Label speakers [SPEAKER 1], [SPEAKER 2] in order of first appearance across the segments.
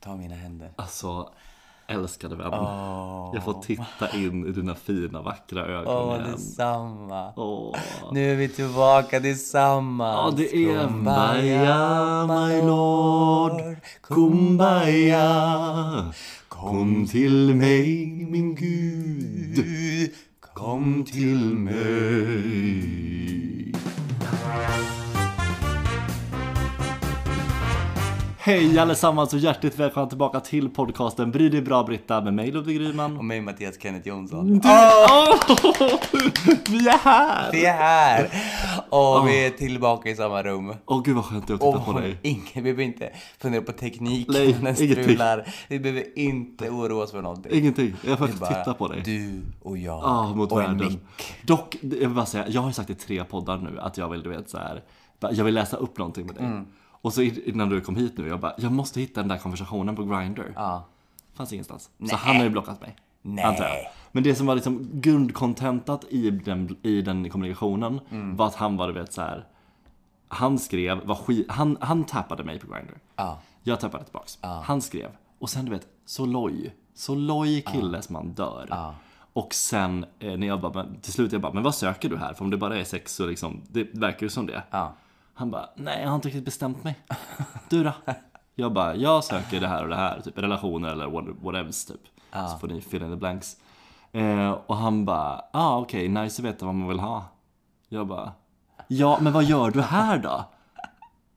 [SPEAKER 1] Ta mina händer.
[SPEAKER 2] Alltså, älskade vän.
[SPEAKER 1] Åh,
[SPEAKER 2] Jag får titta in i dina fina vackra ögon
[SPEAKER 1] Åh,
[SPEAKER 2] igen.
[SPEAKER 1] detsamma.
[SPEAKER 2] Åh.
[SPEAKER 1] Nu är vi tillbaka
[SPEAKER 2] Ja,
[SPEAKER 1] tillsammans.
[SPEAKER 2] det är Kumbaya, my lord.
[SPEAKER 1] Kumbaya.
[SPEAKER 2] Kumbaya. Kom till mig, min Gud. Kom till mig. Hej allesammans och hjärtligt välkomna tillbaka till podcasten Bry dig bra Britta med mig Ludvig Ryman.
[SPEAKER 1] Och mig Mattias Kenneth Jonsson.
[SPEAKER 2] Mm. Vi är här!
[SPEAKER 1] Vi är här! Och vi är tillbaka i samma rum.
[SPEAKER 2] Åh gud vad skönt det är att titta Ah. på
[SPEAKER 1] Och
[SPEAKER 2] dig.
[SPEAKER 1] ingen, vi behöver inte fundera på tekniken,
[SPEAKER 2] Nej,
[SPEAKER 1] den
[SPEAKER 2] ingenting.
[SPEAKER 1] strular. Vi behöver inte oroa oss för någonting.
[SPEAKER 2] Ingenting, jag får
[SPEAKER 1] Det är bara
[SPEAKER 2] titta på dig.
[SPEAKER 1] Du och jag.
[SPEAKER 2] Ja, mot
[SPEAKER 1] och en
[SPEAKER 2] världen.
[SPEAKER 1] mick.
[SPEAKER 2] Dock, jag vill bara säga, jag har ju sagt i tre poddar nu att jag vill, du vet så här, bara, jag vill läsa upp någonting med dig.
[SPEAKER 1] Mm.
[SPEAKER 2] Och så i- innan du kom hit nu, jag bara, jag måste hitta den där konversationen på Grindr.
[SPEAKER 1] Ja.
[SPEAKER 2] Fanns ingenstans. Så han har ju blockat mig.
[SPEAKER 1] Nej.
[SPEAKER 2] Antar jag. Men det som var liksom grundkontentat i den, i den kommunikationen
[SPEAKER 1] Mm.
[SPEAKER 2] var att han var, du vet så här. Han skrev, var skit, han, han tappade mig på Grindr.
[SPEAKER 1] Ja.
[SPEAKER 2] Jag tappade tillbaks. Han skrev. Och sen du vet, så loj. Så loj kille som man dör. Och sen eh, när jag bara, men, till slut jag bara, men vad söker du här? För om det bara är sex så liksom, det verkar ju som det.
[SPEAKER 1] Ja.
[SPEAKER 2] Han bara, nej jag har inte riktigt bestämt mig. Du då? Jag bara, jag söker det här och det här, typ relationer eller what- whatevs typ. Så får ni fill in the blanks. Eh, och han bara, ja ah, okej, nice att veta vad man vill ha. Jag bara, ja men vad gör du här då?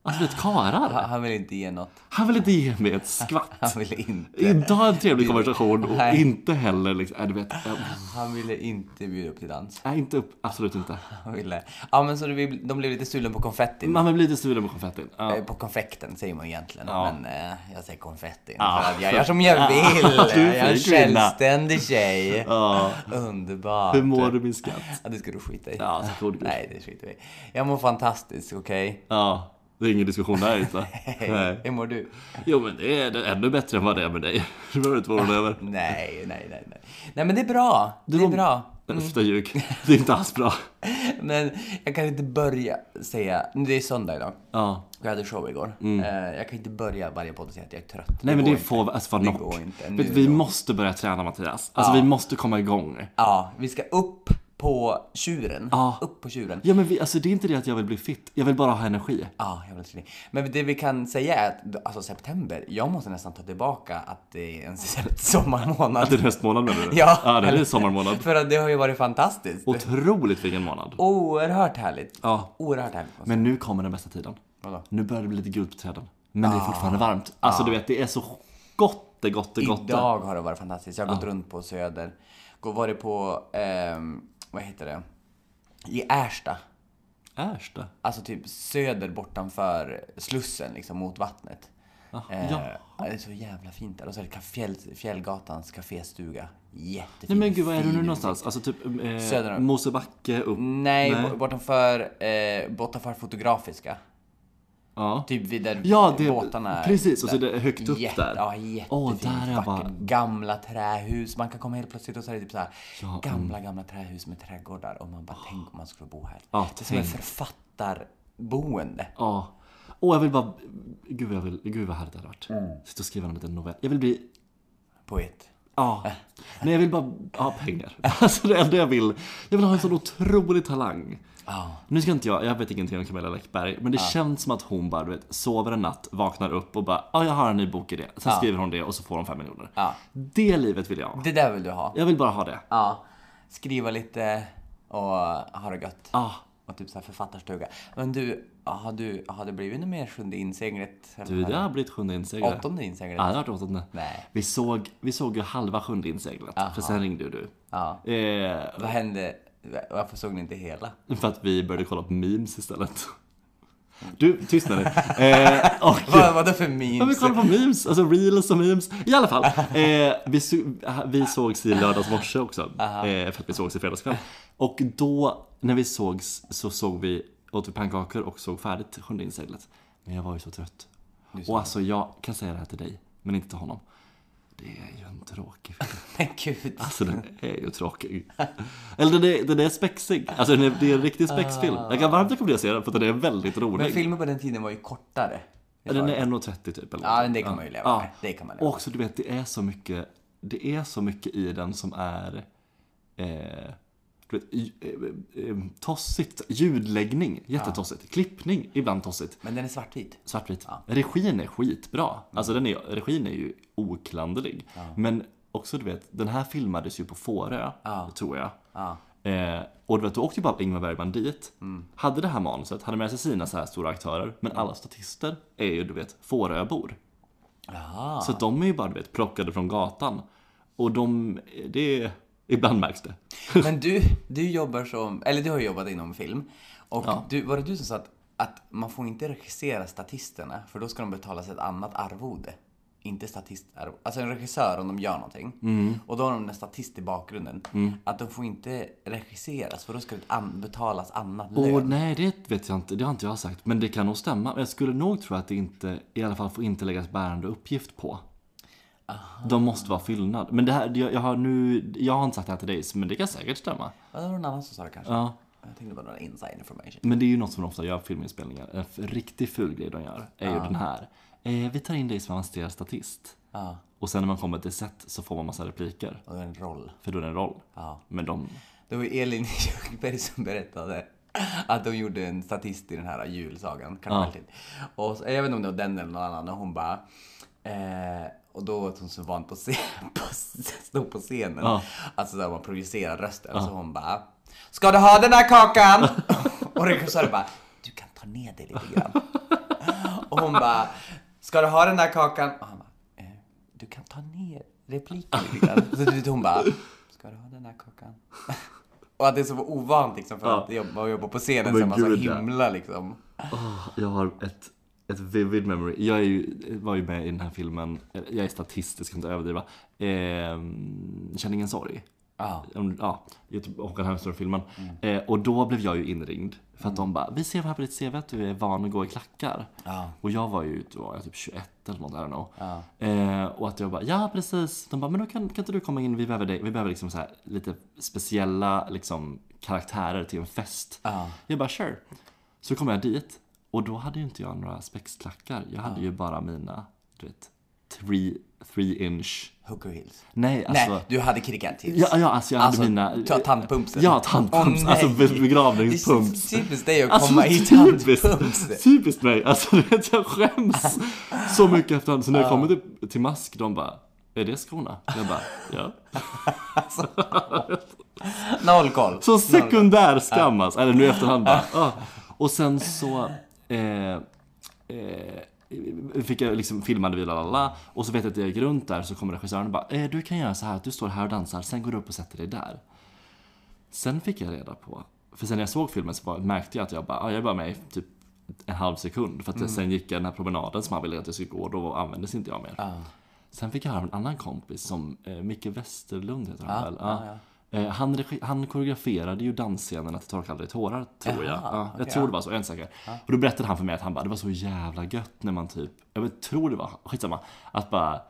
[SPEAKER 2] Alltså du vet karlar.
[SPEAKER 1] Han vill inte ge något.
[SPEAKER 2] Han vill inte ge mig ett skvatt.
[SPEAKER 1] Han ville inte.
[SPEAKER 2] Inte ha en trevlig konversation och
[SPEAKER 1] Nej.
[SPEAKER 2] inte heller liksom, äh, du vet, äh,
[SPEAKER 1] Han ville inte bjuda upp till dans.
[SPEAKER 2] nej inte upp, absolut inte.
[SPEAKER 1] Han ville... Ja men så det blev- de blev lite sulna på konfettin.
[SPEAKER 2] Man blir lite sugen på konfettin. Ja.
[SPEAKER 1] Eh, På konfekten säger man egentligen,
[SPEAKER 2] Ja.
[SPEAKER 1] men eh, jag säger konfettin.
[SPEAKER 2] Ja.
[SPEAKER 1] För att jag gör som jag vill.
[SPEAKER 2] Du är
[SPEAKER 1] jag är en
[SPEAKER 2] fin kvinna.
[SPEAKER 1] självständig tjej.
[SPEAKER 2] Ja.
[SPEAKER 1] Underbart.
[SPEAKER 2] Hur mår du min skatt?
[SPEAKER 1] Ja, det ska du skita i.
[SPEAKER 2] Ja, tack gode gud.
[SPEAKER 1] Nej, det skiter vi i. Jag mår fantastiskt, okej?
[SPEAKER 2] Ja, det är ingen diskussion där inte.
[SPEAKER 1] Hej,
[SPEAKER 2] Nej.
[SPEAKER 1] hur mår du?
[SPEAKER 2] Jo men det är det är ännu bättre än vad det är med dig. Du behöver
[SPEAKER 1] Ah.
[SPEAKER 2] inte vara orolig över.
[SPEAKER 1] Nej, nej, nej, nej. Nej, men det är bra. Det är
[SPEAKER 2] var-
[SPEAKER 1] bra.
[SPEAKER 2] Nej, Sluta ljug. Det är inte alls bra.
[SPEAKER 1] Men jag kan inte börja säga... Det är söndag idag.
[SPEAKER 2] Ja.
[SPEAKER 1] Jag hade show igår. Eh, Jag kan inte börja varje podd och säga att jag är trött.
[SPEAKER 2] Mm. Nej men
[SPEAKER 1] går
[SPEAKER 2] det
[SPEAKER 1] inte.
[SPEAKER 2] får alltså vara
[SPEAKER 1] Det
[SPEAKER 2] nock.
[SPEAKER 1] går inte. Nu
[SPEAKER 2] Vet, vi
[SPEAKER 1] då.
[SPEAKER 2] måste börja träna Mattias. Alltså vi måste komma igång.
[SPEAKER 1] Ja, vi ska upp på tjuren.
[SPEAKER 2] Ja.
[SPEAKER 1] Upp på tjuren.
[SPEAKER 2] Ja men vi, alltså det är inte det att jag vill bli fit. Jag vill bara ha energi.
[SPEAKER 1] Ja, jag blir lite grinig. Men det vi kan säga är att alltså september, jag måste nästan ta tillbaka att det är en sommarmånad.
[SPEAKER 2] Till höstmånad menar du?
[SPEAKER 1] Ja.
[SPEAKER 2] ja det är sommarmånad.
[SPEAKER 1] För att det har ju varit fantastiskt.
[SPEAKER 2] Otroligt vilken månad.
[SPEAKER 1] Oerhört härligt.
[SPEAKER 2] Ja.
[SPEAKER 1] Oerhört härligt.
[SPEAKER 2] Men nu kommer den bästa tiden.
[SPEAKER 1] Vadå? Ah.
[SPEAKER 2] Nu börjar det bli lite gult på träden. Men det är fortfarande varmt. Alltså du vet, det är så gott, det gott, det gott.
[SPEAKER 1] Idag har det varit fantastiskt. Jag har gått runt på Söder. Gå- Varit på, ehm, vad heter det? I Ersta.
[SPEAKER 2] Ersta.
[SPEAKER 1] Alltså typ söder bortanför Slussen, liksom mot vattnet. Eh,
[SPEAKER 2] ja.
[SPEAKER 1] Det är så jävla fint där. Och så är det Ka- fjäll, Fjällgatans kaféstuga. Jättefint.
[SPEAKER 2] Nej men gud, var är du nu
[SPEAKER 1] Fin.
[SPEAKER 2] någonstans? Alltså typ
[SPEAKER 1] Söder Mm.
[SPEAKER 2] eh,
[SPEAKER 1] om.
[SPEAKER 2] Mosebacke upp?
[SPEAKER 1] Nej,
[SPEAKER 2] Nej.
[SPEAKER 1] bo- bortanför, eh, bortanför Fotografiska.
[SPEAKER 2] Ja.
[SPEAKER 1] Typ vid där
[SPEAKER 2] Ja, det-
[SPEAKER 1] båtarna är.
[SPEAKER 2] precis, och så är det högt upp
[SPEAKER 1] Jätte-
[SPEAKER 2] där.
[SPEAKER 1] Ja,
[SPEAKER 2] Åh,
[SPEAKER 1] jättefint.
[SPEAKER 2] där är jag bara-
[SPEAKER 1] vackert. Gamla trähus. Man kan komma helt plötsligt och så är det typ så här
[SPEAKER 2] mm.
[SPEAKER 1] gamla, gamla trähus med trädgårdar. Och man bara, tänk om man skulle bo här.
[SPEAKER 2] Ah. Ja,
[SPEAKER 1] det är som en
[SPEAKER 2] tänk.
[SPEAKER 1] författarboende.
[SPEAKER 2] Ja. Åh jag vill bara, gud, jag vill, gud vad härligt det hade varit.
[SPEAKER 1] Mm.
[SPEAKER 2] Sitta och skriva en liten novell. Jag vill bli,
[SPEAKER 1] Poet. Äh.
[SPEAKER 2] ja. Nej jag vill bara ha pengar. Alltså det enda jag vill, jag vill ha en sån otrolig talang.
[SPEAKER 1] Ja.
[SPEAKER 2] Nu ska inte jag, jag vet ingenting om Camilla Läckberg, men det känns som att hon bara du vet, sover en natt, vaknar upp och bara ja, jag har en ny bok i det. Sen skriver hon det och så får hon fem miljoner.
[SPEAKER 1] Ja.
[SPEAKER 2] Det livet vill jag ha.
[SPEAKER 1] Det där vill du ha.
[SPEAKER 2] Jag vill bara ha det.
[SPEAKER 1] Ja, skriva lite och ha det gött.
[SPEAKER 2] Ja.
[SPEAKER 1] Och typ så här författarstuga. Men du, har du, har du blivit något mer sjunde inseglet?
[SPEAKER 2] Du, det har blivit sjunde inseglet.
[SPEAKER 1] Åttonde inseglet?
[SPEAKER 2] Ja, det har varit åttonde.
[SPEAKER 1] Nej.
[SPEAKER 2] Vi såg, vi såg ju halva sjunde inseglet, för sen ringde ju du.
[SPEAKER 1] Ja.
[SPEAKER 2] Eh,
[SPEAKER 1] Vad hände? Varför såg ni inte hela?
[SPEAKER 2] för att vi började kolla på memes istället.
[SPEAKER 1] Mm.
[SPEAKER 2] Du, tystna nu. Eh, och,
[SPEAKER 1] Vad var det för
[SPEAKER 2] Ja, vi
[SPEAKER 1] memes?
[SPEAKER 2] kollar på memes, alltså reels och memes. I alla fall, eh, vi, so- vi sågs i lördags morse också. Eh, för att vi sågs i fredags kväll. Och då, när vi sågs, så såg vi, åt vi pannkakor och såg färdigt Sjunde inseglet. Men jag var ju så trött. Och alltså jag kan säga det här till dig, men inte till honom. Det är ju en tråkig film.
[SPEAKER 1] Men gud.
[SPEAKER 2] Alltså den är ju tråkig. Eller den är, den är spexig. Alltså den är, det är en riktig spexfilm. Jag kan varmt rekommendera att se den för att den är väldigt rolig.
[SPEAKER 1] Men filmer på den tiden var ju kortare.
[SPEAKER 2] Eller den är 1,30 typ. Eller
[SPEAKER 1] Ja,
[SPEAKER 2] något.
[SPEAKER 1] men det kan man ju leva
[SPEAKER 2] Ja.
[SPEAKER 1] med. Det kan man leva
[SPEAKER 2] Och också du vet, det är så mycket, det är så mycket i den som är eh, du vet, i- eh, eh, tossigt. Ljudläggning, jättetossigt. Klippning, ibland tossigt.
[SPEAKER 1] Men den är svartvit.
[SPEAKER 2] Svartvit. Regin är skitbra. Alltså den är, regin är ju oklanderlig. Men också du vet, den här filmades ju på Fårö, tror jag.
[SPEAKER 1] Ja.
[SPEAKER 2] Eh, och du vet, då åkte ju bara Ingmar Bergman dit. Hade det här manuset, hade med sig sina så här stora aktörer. Men alla statister är ju du vet Fåröbor.
[SPEAKER 1] Jaha.
[SPEAKER 2] Så att de är ju bara du vet plockade från gatan. Och de, det, ibland märks det.
[SPEAKER 1] Men du, du jobbar som, eller du har jobbat inom film. Och du, var det du som sa att, att man får inte regissera statisterna för då ska de betalas ett annat arvode. Inte statistarvode. Alltså en regissör om de gör någonting. Och då har de en statist i bakgrunden. Att de får inte regisseras för då ska det an- betalas annat lön.
[SPEAKER 2] Och nej, det vet jag inte, det har inte jag sagt. Men det kan nog stämma. Men jag skulle nog tro att det inte, i alla fall får inte läggas bärande uppgift på. De måste vara fyllnad. Men det här, jag, jag har nu, jag har inte sagt det här till dig, men det kan säkert stämma.
[SPEAKER 1] Ja, det var någon annan som sa det kanske.
[SPEAKER 2] Ja.
[SPEAKER 1] Jag tänkte bara någon inside information.
[SPEAKER 2] Men det är ju något som de ofta gör på filminspelningar. En f- riktig ful grej de gör är ju den här. Eh, vi tar in dig som avancerad statist.
[SPEAKER 1] Ja,
[SPEAKER 2] Och sen när man kommer till set så får man massa repliker.
[SPEAKER 1] och det är en roll.
[SPEAKER 2] För då är det en roll.
[SPEAKER 1] Ja.
[SPEAKER 2] Men de...
[SPEAKER 1] Det var ju Elin Ljungberg som berättade att de gjorde en statist i den här julsagan, Karamelltid. Och så, jag vet inte om det var den eller någon annan, och hon bara... Eh, och då var hon så van på scen- på s- stå på scenen,
[SPEAKER 2] Ja.
[SPEAKER 1] alltså där man projicerar rösten, så hon bara Ska du ha den här kakan? och regissören bara Du kan ta ner dig lite grann. och hon bara Ska du ha den här kakan? Och han bara eh, Du kan ta ner repliken lite grann. Så du- hon bara Ska du ha den här kakan? Och att det är så ovant liksom för
[SPEAKER 2] Ja.
[SPEAKER 1] att jobba, jobba på scenen
[SPEAKER 2] Men
[SPEAKER 1] så är man så
[SPEAKER 2] gud, ja.
[SPEAKER 1] himla liksom.
[SPEAKER 2] Åh, Ah, jag har ett, ett vivid memory. Jag är ju, var ju med i den här filmen, jag är statistisk, ska inte överdriva. Eh, Känn ingen sorg.
[SPEAKER 1] Ja.
[SPEAKER 2] Om- Ja, Göte- Håkan Hellström-filmen. Eh, och då blev jag ju inringd. För att de bara, vi ser här på ditt CV att du är van att gå i klackar.
[SPEAKER 1] Ja.
[SPEAKER 2] Och jag var ju då, jag typ 21 eller något, I don't know. Eh, och att jag bara, ja precis. De bara, men då kan, kan inte du komma in, vi behöver dig. Vi behöver liksom så här, lite speciella liksom, karaktärer till en fest.
[SPEAKER 1] Ja.
[SPEAKER 2] Jag bara, sure. Så kom jag dit. Och då hade ju inte jag några spexklackar. Jag hade ju bara mina, du vet, three, three inch.
[SPEAKER 1] Hooker Hills.
[SPEAKER 2] Nej, alltså.
[SPEAKER 1] Nej, du hade kriggartips.
[SPEAKER 2] Ja, ja, alltså jag hade
[SPEAKER 1] Alltså,
[SPEAKER 2] mina...
[SPEAKER 1] ta tandpumpsen.
[SPEAKER 2] Ja, tandpumps.
[SPEAKER 1] Åh, nej.
[SPEAKER 2] alltså be-
[SPEAKER 1] Det
[SPEAKER 2] begravningspumps.
[SPEAKER 1] känns typiskt dig att
[SPEAKER 2] Alltså
[SPEAKER 1] komma i tandpumps.
[SPEAKER 2] typiskt, typiskt mig. Alltså du vet, jag skäms så mycket efterhand. Så när jag kommer till, till mask, de bara är det skorna? Jag bara, ja.
[SPEAKER 1] Noll koll.
[SPEAKER 2] Så sekundär skam alltså. Eller nu i efterhand bara, ah. Och sen så eh, eh, fick jag liksom, filmade vi la la la. Och så vet jag att jag gick runt där så kommer regissören och bara, eh, du kan göra så här att du står här och dansar, sen går du upp och sätter dig där. Sen fick jag reda på, för sen när jag såg filmen så bara, märkte jag att jag bara, ah, jag var med i typ en halv sekund. För att sen gick jag den här promenaden som han ville att jag skulle gå och då användes inte jag mer. Sen fick jag höra av en annan kompis som eh, Micke Westerlund heter han väl? Ja. Eh, han, regi- han koreograferade ju dansscenen till Torka aldrig tårar, tror jag. Ja, jag tror det var så, jag är inte säker. Och då berättade han för mig att han bara, det var så jävla gött när man typ, jag vet, tror det var, skitsamma, att bara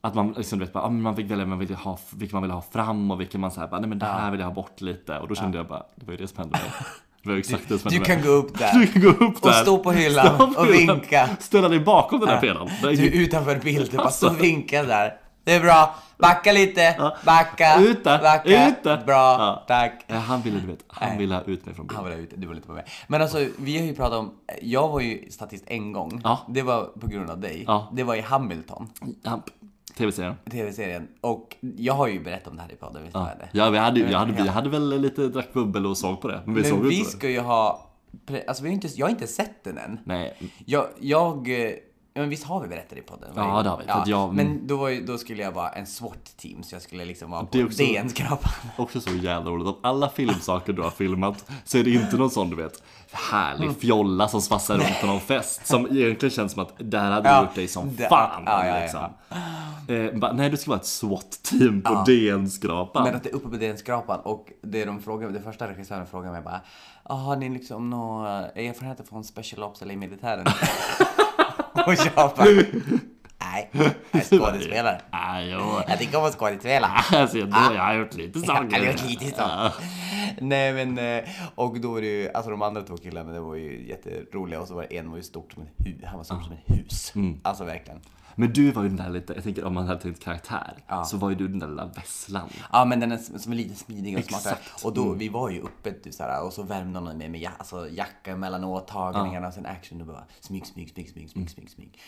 [SPEAKER 2] att man liksom, du vet, bara, ah, men man fick välja vem man ville ha, vilka man ville ha fram och vilka man såhär, bara, nej men det här vill jag ha bort lite. Och då kände jag bara, det var ju det som hände mig. Det var ju exakt det som
[SPEAKER 1] Du
[SPEAKER 2] hände
[SPEAKER 1] kan
[SPEAKER 2] mig.
[SPEAKER 1] gå upp
[SPEAKER 2] Du
[SPEAKER 1] där
[SPEAKER 2] kan gå upp
[SPEAKER 1] och
[SPEAKER 2] där,
[SPEAKER 1] stå på hyllan och vinka.
[SPEAKER 2] ställa dig bakom den här pelaren. Det är
[SPEAKER 1] Du
[SPEAKER 2] ingen-
[SPEAKER 1] är utanför bilden,
[SPEAKER 2] Alltså.
[SPEAKER 1] bara stå och vinka där. Det är bra. Backa lite. Backa.
[SPEAKER 2] Ut där,
[SPEAKER 1] Backa.
[SPEAKER 2] ut där.
[SPEAKER 1] Bra.
[SPEAKER 2] Ja.
[SPEAKER 1] Tack.
[SPEAKER 2] Eh, Han ville, du vet, han ville ha ut mig från
[SPEAKER 1] Han
[SPEAKER 2] bild.
[SPEAKER 1] var där ute, du var lite på mig. Men alltså vi har ju pratat om, jag var ju statist en gång.
[SPEAKER 2] Ja.
[SPEAKER 1] Det var på grund av dig.
[SPEAKER 2] Ja.
[SPEAKER 1] Det var i Hamilton,
[SPEAKER 2] Han- Tv-serien.
[SPEAKER 1] tv-serien. Och jag har ju berättat om det här i podden, visst har jag det?
[SPEAKER 2] Ja, vi hade, ju- jag hade, vi hade väl lite drack bubbel och såg på det. Men vi såg
[SPEAKER 1] Men
[SPEAKER 2] ju
[SPEAKER 1] vi
[SPEAKER 2] inte det.
[SPEAKER 1] ska ju ha, pre- alltså vi har ju inte, jag har inte sett den än.
[SPEAKER 2] Nej,
[SPEAKER 1] Jag, jag, eh, ja, men visst har vi berättat i podden?
[SPEAKER 2] Ja,
[SPEAKER 1] Var
[SPEAKER 2] det har vi, för att jag-
[SPEAKER 1] Men då, var ju, då skulle jag vara en SWAT-team, så jag skulle liksom vara
[SPEAKER 2] Det är
[SPEAKER 1] på
[SPEAKER 2] också-
[SPEAKER 1] DN-skrapan.
[SPEAKER 2] också så jävla roligt. Av alla filmsaker du har filmat så är det inte någon sån du vet
[SPEAKER 1] Mm.
[SPEAKER 2] härlig fjolla som svassar runt på någon fest. Som egentligen känns som att där hade du
[SPEAKER 1] Ja,
[SPEAKER 2] gjort dig som
[SPEAKER 1] där.
[SPEAKER 2] fan.
[SPEAKER 1] Ja, ja, ja.
[SPEAKER 2] liksom. Eh, bara, nej, du ska vara ett SWAT-team på DN-skrapan.
[SPEAKER 1] Men att det är uppe på den skrapan och det de frågar, det första regissören frågar mig bara "Ah, Har ni liksom några erfarenheter från Special Ops eller i militären? och jag bara Nej, Nej, jag är skådespelare.
[SPEAKER 2] Ja, jo.
[SPEAKER 1] Jag tycker om att skådespela.
[SPEAKER 2] Alltså, jag, jag har gjort lite saker.
[SPEAKER 1] Jag har gjort lite så. Nej men, eh, och då var det ju, alltså de andra två killarna det var ju jätteroliga och så var det en var ju stort som ett hus, han var stor som ett hus. Alltså verkligen.
[SPEAKER 2] Men du var ju den där lite, jag tänker om man hade tänkt karaktär, så var ju du den där lilla vesslan.
[SPEAKER 1] Ja men den är som som är lite smidig och smartare.
[SPEAKER 2] Exakt. Mm.
[SPEAKER 1] Och då, vi var ju uppe typ såhär och så värmde någon mig med ja, alltså, jacka mellan åtagningarna och sen action och bara smyg, smyg, smyg, smyg,
[SPEAKER 2] Mm.
[SPEAKER 1] smyg, smyg, smyg.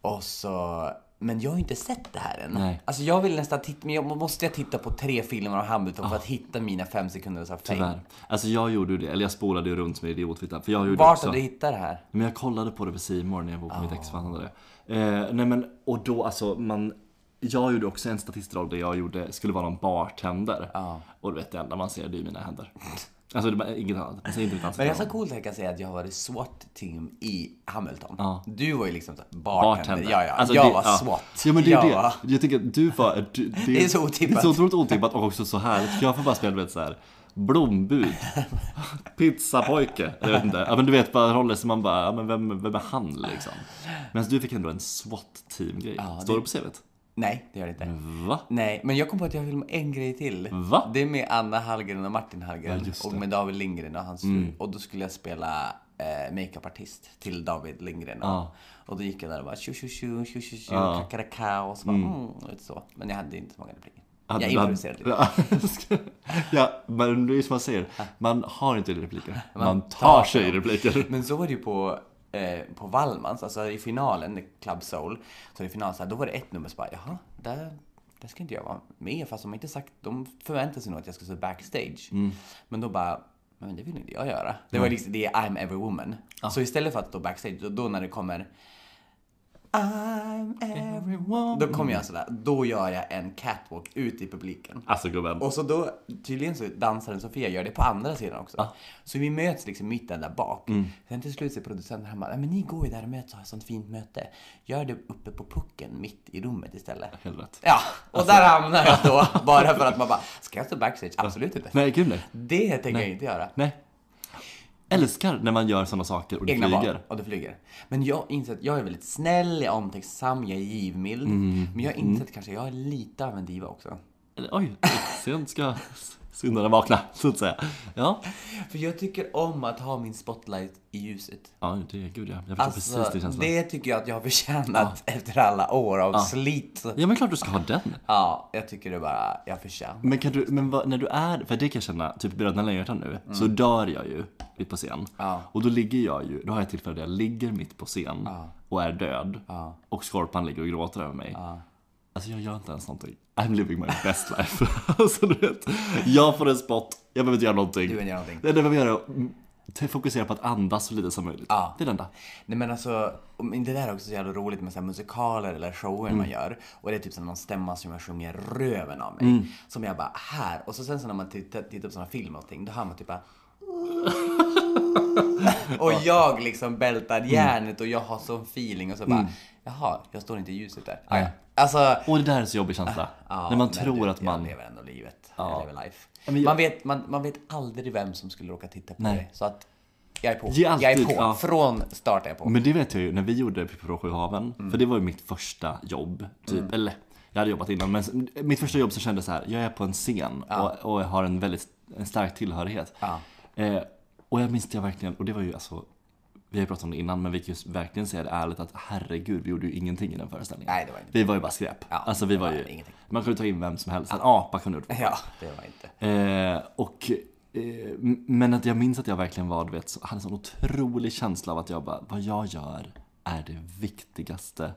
[SPEAKER 1] Och så, men jag har ju inte sett det här än.
[SPEAKER 2] Nej.
[SPEAKER 1] Alltså jag vill nästan titta, men jag måste jag titta på tre filmer av Hamilton för att hitta mina fem sekunder så här fame.
[SPEAKER 2] Tyvärr. Alltså jag gjorde ju det, eller jag spolade ju runt som en idiot vid För jag gjorde
[SPEAKER 1] Vart
[SPEAKER 2] också.
[SPEAKER 1] har du hittat det här?
[SPEAKER 2] Men jag kollade på det på C More när jag var på mitt ex förhandlare. Eh, nej men, och då alltså man jag gjorde också en statistroll där jag gjorde, skulle vara någon bartender. Och du vet det enda man ser det är mina händer. Alltså det var inget annat. Man ser inte mitt ansikte.
[SPEAKER 1] Men det är så coolt att jag kan säga att jag har varit SWAT-team i Hamilton.
[SPEAKER 2] Ja.
[SPEAKER 1] Du var ju liksom så här bartender.
[SPEAKER 2] bartender.
[SPEAKER 1] Ja, ja.
[SPEAKER 2] Alltså,
[SPEAKER 1] jag
[SPEAKER 2] det-
[SPEAKER 1] var
[SPEAKER 2] ja.
[SPEAKER 1] SWAT.
[SPEAKER 2] Ja men det är
[SPEAKER 1] jag
[SPEAKER 2] ju det.
[SPEAKER 1] var-
[SPEAKER 2] Jag tycker att du var... Du, det,
[SPEAKER 1] är så otippat.
[SPEAKER 2] Det är så otroligt otippat och också så härligt. För Jag får bara spela du vet så här. Blombud, pizzapojke, jag vet inte. Ja, men du vet bara roller som man bara, ja, men vem, vem är han liksom? Men du fick ändå en SWAT-team-grej. Står det på CVt?
[SPEAKER 1] Nej, det gör det inte.
[SPEAKER 2] Va?
[SPEAKER 1] Nej, men jag kom på att jag vill med en grej till.
[SPEAKER 2] Va?
[SPEAKER 1] Det är med Anna Hallgren och Martin Hallgren.
[SPEAKER 2] Ja, just
[SPEAKER 1] och
[SPEAKER 2] det. Mm.
[SPEAKER 1] med David Lindgren och hans fru. Och då skulle jag spela eh, makeupartist till David Lindgren. Och,
[SPEAKER 2] Ja.
[SPEAKER 1] och då gick jag där och bara tju tju tju, tju tju tju,
[SPEAKER 2] Ja.
[SPEAKER 1] kakaraka och så bara mm. och lite så. Men jag hade inte så många repliker. jag
[SPEAKER 2] Ja, du hade-
[SPEAKER 1] improviserade lite.
[SPEAKER 2] ja, men det är som man säger, man har inte repliker. Man
[SPEAKER 1] tar
[SPEAKER 2] tar sig repliker.
[SPEAKER 1] Men så var det ju på, eh, på Valmans, alltså i finalen, Club Soul. Så i finalen, så här, då var det ett nummer som bara, jaha, där, där ska inte jag vara med. Fast de har inte sagt, de förväntade sig nog att jag skulle stå backstage. Men då bara, men det vill inte jag göra. Det var liksom, det är I'm every woman. Så istället för att stå backstage, då, då när det kommer I'm every woman. Då kommer jag sådär, då gör jag en catwalk ut i publiken.
[SPEAKER 2] Alltså gubben.
[SPEAKER 1] Och så då, tydligen så dansaren Sofia gör det på andra sidan också. Så vi möts liksom mitten där bak.
[SPEAKER 2] Mm.
[SPEAKER 1] Sen till slut säger producenten, han bara, "Nej, men ni går ju där och möts och har ett sånt fint möte. Gör det uppe på pucken mitt i rummet istället.
[SPEAKER 2] Helvete.
[SPEAKER 1] Ja, och
[SPEAKER 2] Alltså-
[SPEAKER 1] där hamnar jag då. Bara för att man bara, ska jag stå backstage? Absolut inte.
[SPEAKER 2] Nej, gud nej.
[SPEAKER 1] Det tänker jag inte göra.
[SPEAKER 2] Nej. Älskar när man gör sådana saker och det
[SPEAKER 1] Egna
[SPEAKER 2] flyger.
[SPEAKER 1] barn. Och det flyger. Men jag inser att jag är väldigt snäll, jag är omtänksam, jag är givmild.
[SPEAKER 2] Mm.
[SPEAKER 1] Men jag har insett kanske, jag är lite av en diva också.
[SPEAKER 2] Eller, Oj, sent ska syndarna vakna, så att säga. Ja,
[SPEAKER 1] För jag tycker om att ha min spotlight i ljuset.
[SPEAKER 2] ja det, gud ja. Jag förstår precis den känslan.
[SPEAKER 1] Alltså, det tycker jag att jag har förtjänat efter alla år av slit.
[SPEAKER 2] Ja, men klart du ska ha den.
[SPEAKER 1] Ja, jag tycker det bara, jag förtjänar.
[SPEAKER 2] Men, kan du, men vad, när du är, för det kan jag känna, typ Bröderna Lejonhjärta nu, så
[SPEAKER 1] Mm.
[SPEAKER 2] dör jag ju mitt på scen. Och då ligger jag ju, då har jag ett tillfälle där jag ligger mitt på scen och är död. Och Skorpan ligger och gråter över mig. Alltså jag gör inte ens någonting. I'm living my best life. alltså du vet, jag får en spot, jag behöver inte göra någonting. Du
[SPEAKER 1] behöver inte göra någonting.
[SPEAKER 2] Det enda jag behöver göra är att mm, fokusera på att andas så lite som möjligt. Det är det enda.
[SPEAKER 1] Nej men alltså, men det där är också så jävla roligt med så här musikaler eller shower man gör. Och det är typ så här någon stämma som jag sjunger röven av mig. Som jag bara, här. Och så sen så när man tittar, tittar på sådana filmer och någonting, då hör man typ bara Och jag liksom bältar järnet och jag har sån feeling och så bara, jaha, jag står inte i ljuset där. Ah, ja. Alltså,
[SPEAKER 2] Och det där är en så jobbig känsla.
[SPEAKER 1] Ja,
[SPEAKER 2] när man
[SPEAKER 1] men
[SPEAKER 2] tror
[SPEAKER 1] du,
[SPEAKER 2] att man...
[SPEAKER 1] Jag lever ändå livet.
[SPEAKER 2] Ja.
[SPEAKER 1] Jag lever life.
[SPEAKER 2] Ja, men jag-
[SPEAKER 1] Man, vet, man, man vet aldrig vem som skulle råka titta på
[SPEAKER 2] Nej.
[SPEAKER 1] dig. Så att jag är på.
[SPEAKER 2] Ge
[SPEAKER 1] jag är
[SPEAKER 2] alltid,
[SPEAKER 1] på.
[SPEAKER 2] ja.
[SPEAKER 1] Från start är jag på.
[SPEAKER 2] Men det vet jag ju, när vi gjorde Pippi Sju haven, för det var ju mitt första jobb, typ,
[SPEAKER 1] Mm.
[SPEAKER 2] eller jag hade jobbat innan, men s- mitt första jobb som kändes så här, jag är på en scen och, och jag har en väldigt en stark tillhörighet. Eh, och jag minns det verkligen, och det var ju alltså, vi har ju pratat om det innan, men vi kan ju verkligen säga det ärligt att herregud, vi gjorde ju ingenting i den föreställningen.
[SPEAKER 1] Nej, det var inte-
[SPEAKER 2] Vi var ju bara skräp. alltså vi var ju,
[SPEAKER 1] ingenting.
[SPEAKER 2] man kunde ta in vem som helst, en apa kunde du
[SPEAKER 1] Ja, det var inte.
[SPEAKER 2] Eh, och, eh, m- men att jag minns att jag verkligen var, du vet, så, hade en sån otrolig känsla av att jag bara, vad jag gör är det viktigaste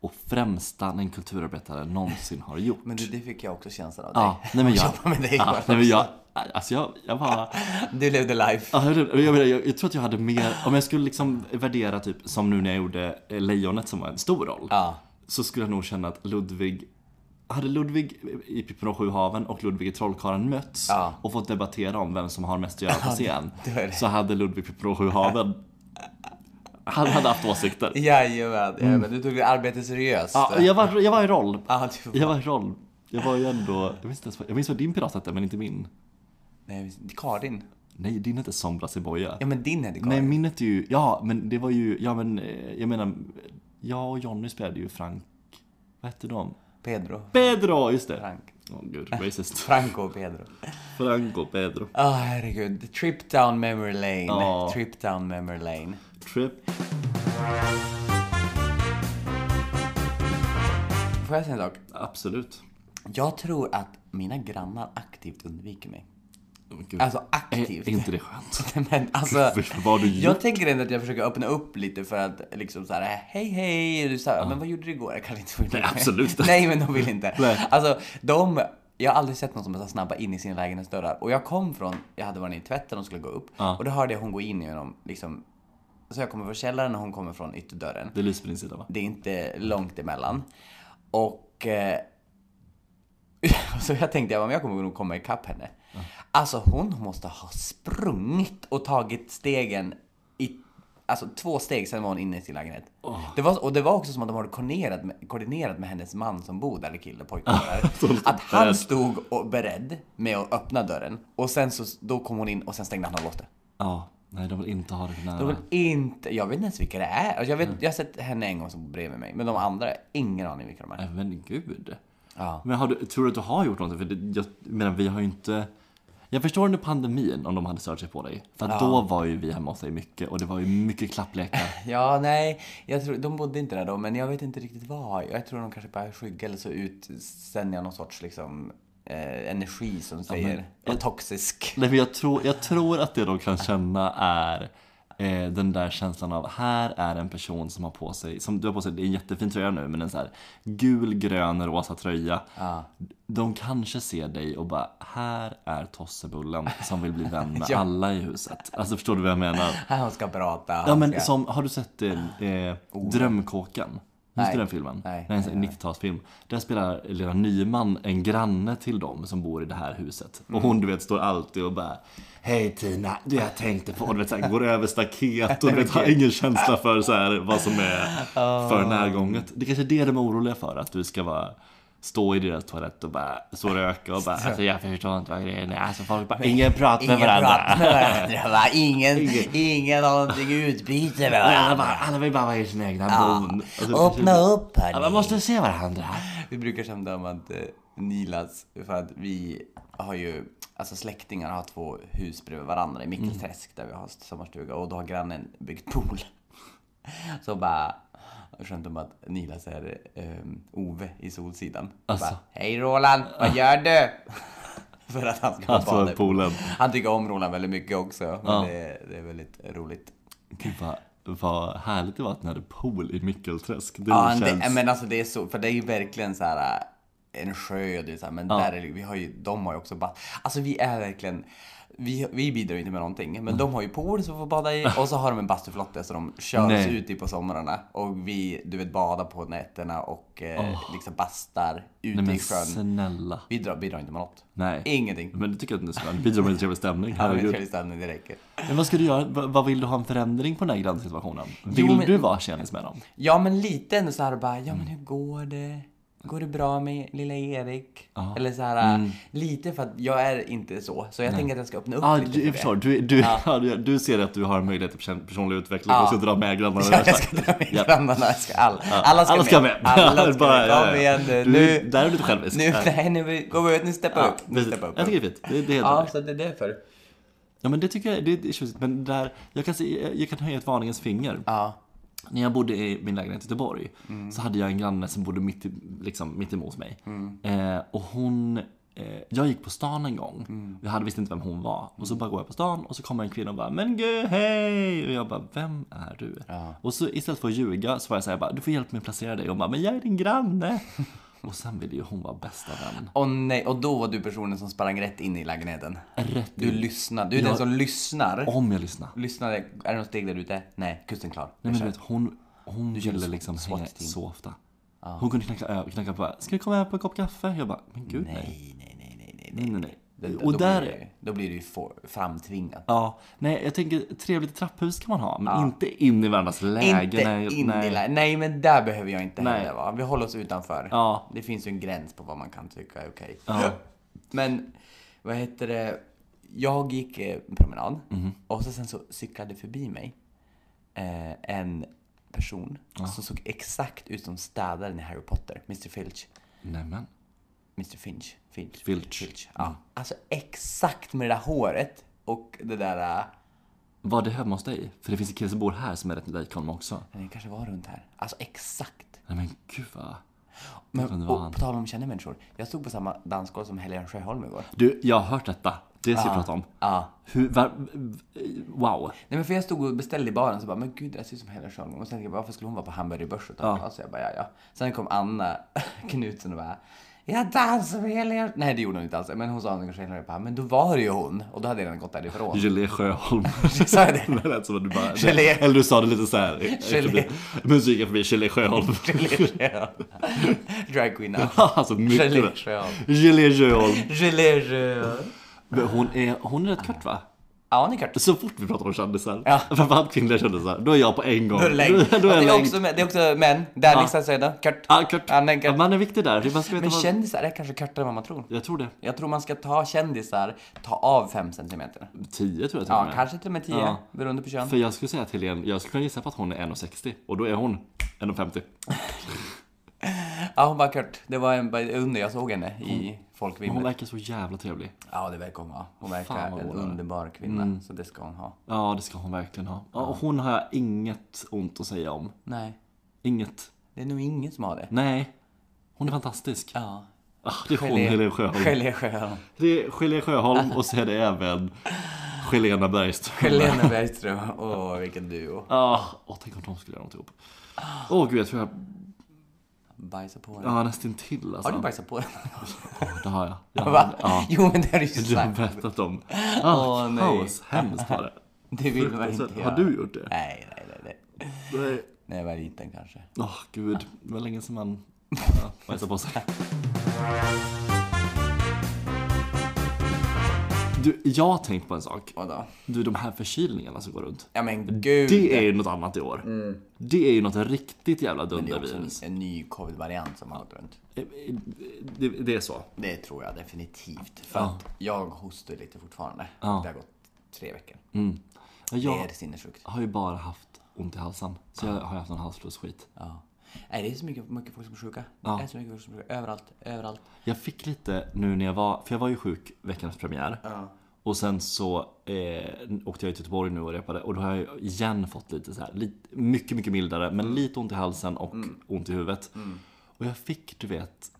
[SPEAKER 2] och främsta en kulturarbetare någonsin har gjort.
[SPEAKER 1] Men du, det fick jag också känslan av
[SPEAKER 2] ja,
[SPEAKER 1] dig.
[SPEAKER 2] nej men jag,
[SPEAKER 1] Jobba med dig
[SPEAKER 2] ja,
[SPEAKER 1] bara.
[SPEAKER 2] nej men jag, alltså jag, jag bara,
[SPEAKER 1] Du levde life.
[SPEAKER 2] Ja, jag, jag, menar, jag, jag tror att jag hade mer, om jag skulle liksom värdera typ som nu när jag gjorde eh, Lejonet som var en stor roll.
[SPEAKER 1] Ja.
[SPEAKER 2] Så skulle jag nog känna att Ludvig, hade Ludvig i Pippi och sju haven och Ludvig i Trollkarlen mötts
[SPEAKER 1] Ja.
[SPEAKER 2] och fått debattera om vem som har mest att göra på scen.
[SPEAKER 1] det var det.
[SPEAKER 2] Så hade Ludvig Pippi och sju haven, han hade haft åsikter.
[SPEAKER 1] Jajamän, jajamän. Du tog ditt arbete seriöst.
[SPEAKER 2] Mm. Ja, jag, var, jag var i roll.
[SPEAKER 1] Ja, du-
[SPEAKER 2] Jag var i roll. Jag var ju ändå, jag minns, inte ens vad- jag minns vad din pirat hette men inte min.
[SPEAKER 1] Nej, Karin.
[SPEAKER 2] Nej, din hette Sombras i boja.
[SPEAKER 1] Ja, men din hette Karin.
[SPEAKER 2] Nej, minnet är ju, ja men det var ju, ja men eh, jag menar, jag och Jonny spelade ju Frank Vad hette de?
[SPEAKER 1] Pedro.
[SPEAKER 2] Pedro, just det!
[SPEAKER 1] Frank.
[SPEAKER 2] Åh gud, racist.
[SPEAKER 1] Franco och Pedro.
[SPEAKER 2] Franco Pedro.
[SPEAKER 1] Ah, herregud. Trip down memory lane.
[SPEAKER 2] Ja.
[SPEAKER 1] Trip down memory lane.
[SPEAKER 2] Trip.
[SPEAKER 1] Får jag säga en sak?
[SPEAKER 2] Absolut.
[SPEAKER 1] Jag tror att mina grannar aktivt undviker mig.
[SPEAKER 2] Åh, gud.
[SPEAKER 1] Alltså
[SPEAKER 2] är,
[SPEAKER 1] aktivt.
[SPEAKER 2] är inte det skönt?
[SPEAKER 1] Men alltså,
[SPEAKER 2] Vad har du
[SPEAKER 1] jag tänker ändå att jag försöker öppna upp lite för att liksom så här, hej hej, du så här, men vad gjorde du igår? Jag kan inte få
[SPEAKER 2] Nej, absolut inte.
[SPEAKER 1] Nej, men de vill inte.
[SPEAKER 2] Nej.
[SPEAKER 1] Alltså, de, jag har aldrig sett någon som är så snabba in i sina lägenhetsdörrar. Och jag kom från, jag hade varit i tvätten och skulle gå upp.
[SPEAKER 2] Ja.
[SPEAKER 1] Och då hörde jag hon gå in genom, liksom, så jag kommer från källaren och hon kommer från ytterdörren.
[SPEAKER 2] Det lyser på din sida va?
[SPEAKER 1] Det är inte långt emellan. Och... Eh, så jag tänkte, jag, bara, men jag kommer nog komma ikapp henne. Alltså hon måste ha sprungit och tagit stegen i... Alltså två steg, sen var hon inne i sin lägenhet. Det var, och det var också som att de hade koordinerat med, koordinerat med hennes man som bor där, eller kille, pojken
[SPEAKER 2] Så
[SPEAKER 1] där.
[SPEAKER 2] lite
[SPEAKER 1] att han
[SPEAKER 2] beredd.
[SPEAKER 1] stod och beredd med att öppna dörren. Och sen så, då kom hon in och sen stängde han och låste.
[SPEAKER 2] Ja. Nej, de vill inte ha det nära.
[SPEAKER 1] De vill inte, jag vet inte ens vilka det är. Alltså, Jag, vet,
[SPEAKER 2] Mm.
[SPEAKER 1] jag har sett henne en gång som bor bredvid mig, men de andra, ingen aning vilka de är.
[SPEAKER 2] Nej, Men gud.
[SPEAKER 1] Ja.
[SPEAKER 2] Men har du, tror du att du har gjort någonting? För det, jag menar, vi har ju inte... Jag förstår under pandemin om de hade stört sig på dig. För att då var ju vi hemma hos dig mycket och det var ju mycket klapplekar.
[SPEAKER 1] Ja, nej, jag tror, de bodde inte där då, men jag vet inte riktigt vad. Jag tror de kanske bara skygga eller så utsänder jag någon sorts liksom eh, energi som säger var toxisk.
[SPEAKER 2] Nej men jag tror, jag tror att det de kan känna är eh, den där känslan av här är en person som har på sig, som du har på sig, det är en jättefin tröja nu men en så här gul, grön, rosa tröja. De kanske ser dig och bara här är tossebullen som vill bli vän med
[SPEAKER 1] Ja.
[SPEAKER 2] alla i huset. Alltså förstår du vad jag menar?
[SPEAKER 1] Han ska prata.
[SPEAKER 2] Ja
[SPEAKER 1] han
[SPEAKER 2] men
[SPEAKER 1] ska...
[SPEAKER 2] som, har du sett eh, eh, Drömkåken? Minns
[SPEAKER 1] Oh. Nej.
[SPEAKER 2] du den filmen?
[SPEAKER 1] Nej,
[SPEAKER 2] Det är en sån 90-talsfilm. Där spelar Lena Nyman en granne till dem som bor i det här huset.
[SPEAKER 1] Mm.
[SPEAKER 2] Och hon du vet står alltid och bara Hej Tina, du jag tänkte på... Och du vet såhär, går över staket och du vet, har ingen känsla för så här, vad som är
[SPEAKER 1] Ah.
[SPEAKER 2] för närgånget. Det kanske är det de är oroliga för, att du ska vara Stå i deras toalett och bara så röka och bara alltså jag förstår inte vad grejen är. Alltså folk bara ingen pratar med
[SPEAKER 1] Ingen pratar
[SPEAKER 2] varandra.
[SPEAKER 1] med varandra, va? Ingen, ingen har någonting utbyte med
[SPEAKER 2] Alla,
[SPEAKER 1] varandra.
[SPEAKER 2] bara, alla vill bara vara i sin egna bon.
[SPEAKER 1] Ah. Öppna upp
[SPEAKER 2] Ja, man
[SPEAKER 1] hörni.
[SPEAKER 2] måste se varandra.
[SPEAKER 1] Vi brukar skämta om att eh, Nilas, för att vi har ju, alltså släktingar har två hus bredvid varandra i
[SPEAKER 2] Mm.
[SPEAKER 1] Mikkelträsk där vi har sommarstuga och då har grannen byggt pool. Så bara, skämt om att Nilas är ehm, Ove i Solsidan.
[SPEAKER 2] Alltså.
[SPEAKER 1] Bara, Hej Roland, vad gör du? för att han ska
[SPEAKER 2] Alltså,
[SPEAKER 1] bada i
[SPEAKER 2] poolen.
[SPEAKER 1] Han tycker om Roland väldigt mycket också. Men
[SPEAKER 2] Ja.
[SPEAKER 1] det, är- det är väldigt roligt.
[SPEAKER 2] Gud vad, vad härligt det var att ni hade pool i Mickelträsk. Det
[SPEAKER 1] Ja,
[SPEAKER 2] känns...
[SPEAKER 1] det, men alltså det är så, för det är ju verkligen så här äh, en sjö, det är så här, men där är det, vi har ju, de har ju också bad. Alltså vi är verkligen, vi, vi bidrar ju inte med någonting, men de har ju pool som vi får bada i och så har de en bastuflotte som de kör oss
[SPEAKER 2] Nej.
[SPEAKER 1] ut i på somrarna. Och vi, du vet, badar på nätterna och eh, liksom bastar ute
[SPEAKER 2] Nej men
[SPEAKER 1] i sjön.
[SPEAKER 2] snälla.
[SPEAKER 1] Vi drar, bidrar inte med något.
[SPEAKER 2] Nej.
[SPEAKER 1] Ingenting.
[SPEAKER 2] Men det tycker jag att ni ska göra. Det bidrar med en trevlig stämning.
[SPEAKER 1] Ja, men
[SPEAKER 2] Herregud.
[SPEAKER 1] trevlig stämning, det räcker.
[SPEAKER 2] Men vad ska du göra? Va- vad vill du ha en förändring på den här grannsituationen? Vill
[SPEAKER 1] men-
[SPEAKER 2] du vara tjenis med dem?
[SPEAKER 1] Ja, men lite ändå så här bara, ja
[SPEAKER 2] Mm.
[SPEAKER 1] men hur går det? Går det bra med lilla Erik? Eller så här, äh,
[SPEAKER 2] Mm.
[SPEAKER 1] lite för att jag är inte så. Så jag tänker att jag ska öppna upp
[SPEAKER 2] Ja,
[SPEAKER 1] lite
[SPEAKER 2] du,
[SPEAKER 1] för
[SPEAKER 2] jag
[SPEAKER 1] det.
[SPEAKER 2] förstår. Du, du, ja. du, du ser att du har en möjlighet till person- personlig utveckling.
[SPEAKER 1] Ja.
[SPEAKER 2] Du ska dra med grannarna.
[SPEAKER 1] Ja, jag ska dra med grannarna, jag ska all, alla ska
[SPEAKER 2] Alla ska med.
[SPEAKER 1] Alla ska
[SPEAKER 2] Bara,
[SPEAKER 1] med.
[SPEAKER 2] ja, ja.
[SPEAKER 1] Kom igen nu.
[SPEAKER 2] Du-
[SPEAKER 1] Nu,
[SPEAKER 2] Där är du lite självisk.
[SPEAKER 1] nu, nej, nu går vi ut, nu steppar vi
[SPEAKER 2] Ja,
[SPEAKER 1] upp. Nu
[SPEAKER 2] precis.
[SPEAKER 1] steppar vi
[SPEAKER 2] jag
[SPEAKER 1] upp.
[SPEAKER 2] tycker det är fint. Det, det är helt
[SPEAKER 1] Ja,
[SPEAKER 2] okej.
[SPEAKER 1] så det är därför.
[SPEAKER 2] Ja men det tycker jag, det är tjusigt. Men där, jag kan, se, jag kan höja ett varningens finger.
[SPEAKER 1] Ja.
[SPEAKER 2] När jag bodde i min lägenhet i Göteborg så hade jag en granne som bodde mitt, i- liksom, mitt emot mig. Eh, och hon, eh, jag gick på stan en gång. Jag hade visst inte vem hon var. Och så bara går jag på stan och så kommer en kvinna och bara Men gud, hej! Och jag bara, vem är du? Och så istället för att ljuga så var jag såhär bara, du får hjälpa mig att placera dig. Och hon bara, men jag är din granne. och sen ville ju hon vara bästa vän.
[SPEAKER 1] Och nej, och då var du personen som sprang rätt in i lägenheten.
[SPEAKER 2] Rätt
[SPEAKER 1] Du lyssnar, du är den som lyssnar.
[SPEAKER 2] Om jag lyssnar.
[SPEAKER 1] Lyssnade, är det något steg där ute? Nej, kusten klar.
[SPEAKER 2] Nej men du vet, hon, hon
[SPEAKER 1] körde
[SPEAKER 2] ville
[SPEAKER 1] SWAT-
[SPEAKER 2] liksom hänga
[SPEAKER 1] SWAT-team.
[SPEAKER 2] så ofta. Hon kunde knacka, ö- knacka på bara, ska du komma över på en kopp kaffe? Jag bara, men gud nej.
[SPEAKER 1] nej, nej, nej, nej, nej.
[SPEAKER 2] Nej, nej, nej.
[SPEAKER 1] Det- då-
[SPEAKER 2] Och
[SPEAKER 1] då
[SPEAKER 2] där,
[SPEAKER 1] blir det, ju- då blir det ju for, framtvingat.
[SPEAKER 2] ja, nej jag tänker trevligt trapphus kan man ha, men inte in i varandras läge.
[SPEAKER 1] inte
[SPEAKER 2] nej,
[SPEAKER 1] in
[SPEAKER 2] nej.
[SPEAKER 1] i lä- Nej, men där behöver jag inte
[SPEAKER 2] Nej.
[SPEAKER 1] heller vara. Vi håller oss utanför.
[SPEAKER 2] Ja.
[SPEAKER 1] Det finns ju en gräns på vad man kan tycka är okej.
[SPEAKER 2] Ja.
[SPEAKER 1] Men, vad heter det? Jag
[SPEAKER 2] Mhm.
[SPEAKER 1] gick eh, en promenad och så sen så cyklade förbi mig eh, en person som såg exakt ut som städaren i Harry Potter, Mr Filch.
[SPEAKER 2] Nämen.
[SPEAKER 1] Mr Finch. Finch.
[SPEAKER 2] Filch. Mm.
[SPEAKER 1] Ja. Alltså exakt med det där håret och det där... äh,
[SPEAKER 2] Var det hemma hos dig? För det finns en kille som bor här som är rätt lik honom också.
[SPEAKER 1] Den kanske var runt här. Alltså exakt.
[SPEAKER 2] Nej men gud vad... Undrar
[SPEAKER 1] Men,
[SPEAKER 2] vad han-
[SPEAKER 1] och på tal om kända människor. Jag stod på samma dansgolv som Helena Sjöholm igår.
[SPEAKER 2] Du, jag har hört detta. Det ska vi prata om.
[SPEAKER 1] Ja.
[SPEAKER 2] Hur, var, wow.
[SPEAKER 1] Nej men för jag stod och beställde i baren så bara, men gud det här ser ut som Helena Sjöholm. Och sen tänkte jag, bara, varför skulle hon vara på hamburgerbörs och ta
[SPEAKER 2] Ja.
[SPEAKER 1] ja. Så jag bara, ja ja. Sen kom Anna Knutsen och bara, jag dansar med Helena. Nej det gjorde hon inte alls. Men hon sa någonting om Helena och bara, men då var det ju hon. Och då hade jag redan gått därifrån.
[SPEAKER 2] Gelé Sjöholm.
[SPEAKER 1] Sa jag det?
[SPEAKER 2] Det lät som att du bara...
[SPEAKER 1] Gelé.
[SPEAKER 2] Eller du sa det lite så här.
[SPEAKER 1] Gelé.
[SPEAKER 2] Musiken förbi Gelé Sjöholm.
[SPEAKER 1] Dragqueenna.
[SPEAKER 2] alltså mycket.
[SPEAKER 1] Gelé
[SPEAKER 2] bra.
[SPEAKER 1] Sjöholm.
[SPEAKER 2] Gelé Sjöholm.
[SPEAKER 1] Gelé Sjöholm.
[SPEAKER 2] Men Hon är, hon är rätt kort va?
[SPEAKER 1] Ja hon är kort.
[SPEAKER 2] Så fort vi pratar om kändisar,
[SPEAKER 1] Ja.
[SPEAKER 2] framförallt kvinnliga kändisar, då är jag på en gång.
[SPEAKER 1] Då är det längd.
[SPEAKER 2] då är
[SPEAKER 1] det,
[SPEAKER 2] jag
[SPEAKER 1] är
[SPEAKER 2] längd.
[SPEAKER 1] också, det är också män. Där ja. listas jag då. Kort.
[SPEAKER 2] Ja, kort.
[SPEAKER 1] Ja, nej, kort.
[SPEAKER 2] Ja, man är viktig där. Det är bara ska veta
[SPEAKER 1] Men
[SPEAKER 2] vad...
[SPEAKER 1] kändisar är kanske kortare än vad man tror.
[SPEAKER 2] Jag tror det.
[SPEAKER 1] Jag tror man ska ta kändisar, ta av 5 centimeter.
[SPEAKER 2] Tio tror jag till och
[SPEAKER 1] Ja,
[SPEAKER 2] med.
[SPEAKER 1] kanske till och med 10
[SPEAKER 2] Ja.
[SPEAKER 1] beroende på kön.
[SPEAKER 2] För jag skulle säga att Helene, jag skulle kunna gissa på att hon är 1,60 och då är hon 1,50.
[SPEAKER 1] Ja, hon bara kort. Det var en bara under jag såg henne i folkvimlet.
[SPEAKER 2] Hon verkar så jävla trevlig.
[SPEAKER 1] Ja, det verkar hon ha. Hon verkar
[SPEAKER 2] Fan, vad
[SPEAKER 1] en
[SPEAKER 2] hon är. Mm.
[SPEAKER 1] underbar kvinna, så det ska hon ha.
[SPEAKER 2] Ja, det ska hon verkligen ha. Ja, och hon har jag inget ont att säga om.
[SPEAKER 1] Nej,
[SPEAKER 2] Inget.
[SPEAKER 1] det är nog ingen som har det.
[SPEAKER 2] Nej. Hon är fantastisk.
[SPEAKER 1] Ja.
[SPEAKER 2] Ah, det är hon, Helene Sjöholm.
[SPEAKER 1] Gelé Sjöholm.
[SPEAKER 2] Det är Helene Sjöholm och så är det även Helena Bergström.
[SPEAKER 1] Helena Bergström. Åh, vilken duo.
[SPEAKER 2] Ah, åh, tänk om de skulle göra något ihop. Åh gud, jag tror jag...
[SPEAKER 1] Bajsa på den.
[SPEAKER 2] Ja, nästan till alltså.
[SPEAKER 1] Har du bajsat på den?
[SPEAKER 2] Det har jag. jag
[SPEAKER 1] Va?
[SPEAKER 2] har, ja,
[SPEAKER 1] Jo, men det har du ju
[SPEAKER 2] du har
[SPEAKER 1] sagt.
[SPEAKER 2] berättat om. Ah,
[SPEAKER 1] Åh, nej.
[SPEAKER 2] kaos. Hemskt var det.
[SPEAKER 1] Det vill man inte
[SPEAKER 2] Fruktansvärt.
[SPEAKER 1] göra.
[SPEAKER 2] Har du gjort det?
[SPEAKER 1] Nej, nej, nej. nej.
[SPEAKER 2] Nej.
[SPEAKER 1] När jag var liten kanske.
[SPEAKER 2] Åh gud, det var länge sedan man ja, bajsade på sig. Du, jag har tänkt på en sak.
[SPEAKER 1] Vadå?
[SPEAKER 2] Du, de här förkylningarna som går runt.
[SPEAKER 1] Ja men gud.
[SPEAKER 2] Det är ju något annat i år. Det är ju något riktigt jävla
[SPEAKER 1] Det är också en,
[SPEAKER 2] dundervirus.
[SPEAKER 1] en ny covid-variant som har gått runt.
[SPEAKER 2] Det, det är så.
[SPEAKER 1] Det tror jag definitivt. För
[SPEAKER 2] Ja.
[SPEAKER 1] att jag hostar lite fortfarande.
[SPEAKER 2] Ja.
[SPEAKER 1] Det har gått tre veckor.
[SPEAKER 2] Ja,
[SPEAKER 1] Det
[SPEAKER 2] Jag
[SPEAKER 1] är sinnessjukt.
[SPEAKER 2] har ju bara haft ont i halsen. Så jag har ju haft någon halsflussskit.
[SPEAKER 1] Ja. Nej, det är så mycket, mycket folk som är sjuka. Det är så mycket folk som är sjuka. Överallt, överallt.
[SPEAKER 2] Jag fick lite nu när jag var, för jag var ju sjuk veckans premiär. Och sen så eh, åkte jag till Göteborg nu och repade och då har jag igen fått lite så här, lite, mycket, mycket mildare, men lite ont i halsen och ont i huvudet. Och jag fick, du vet,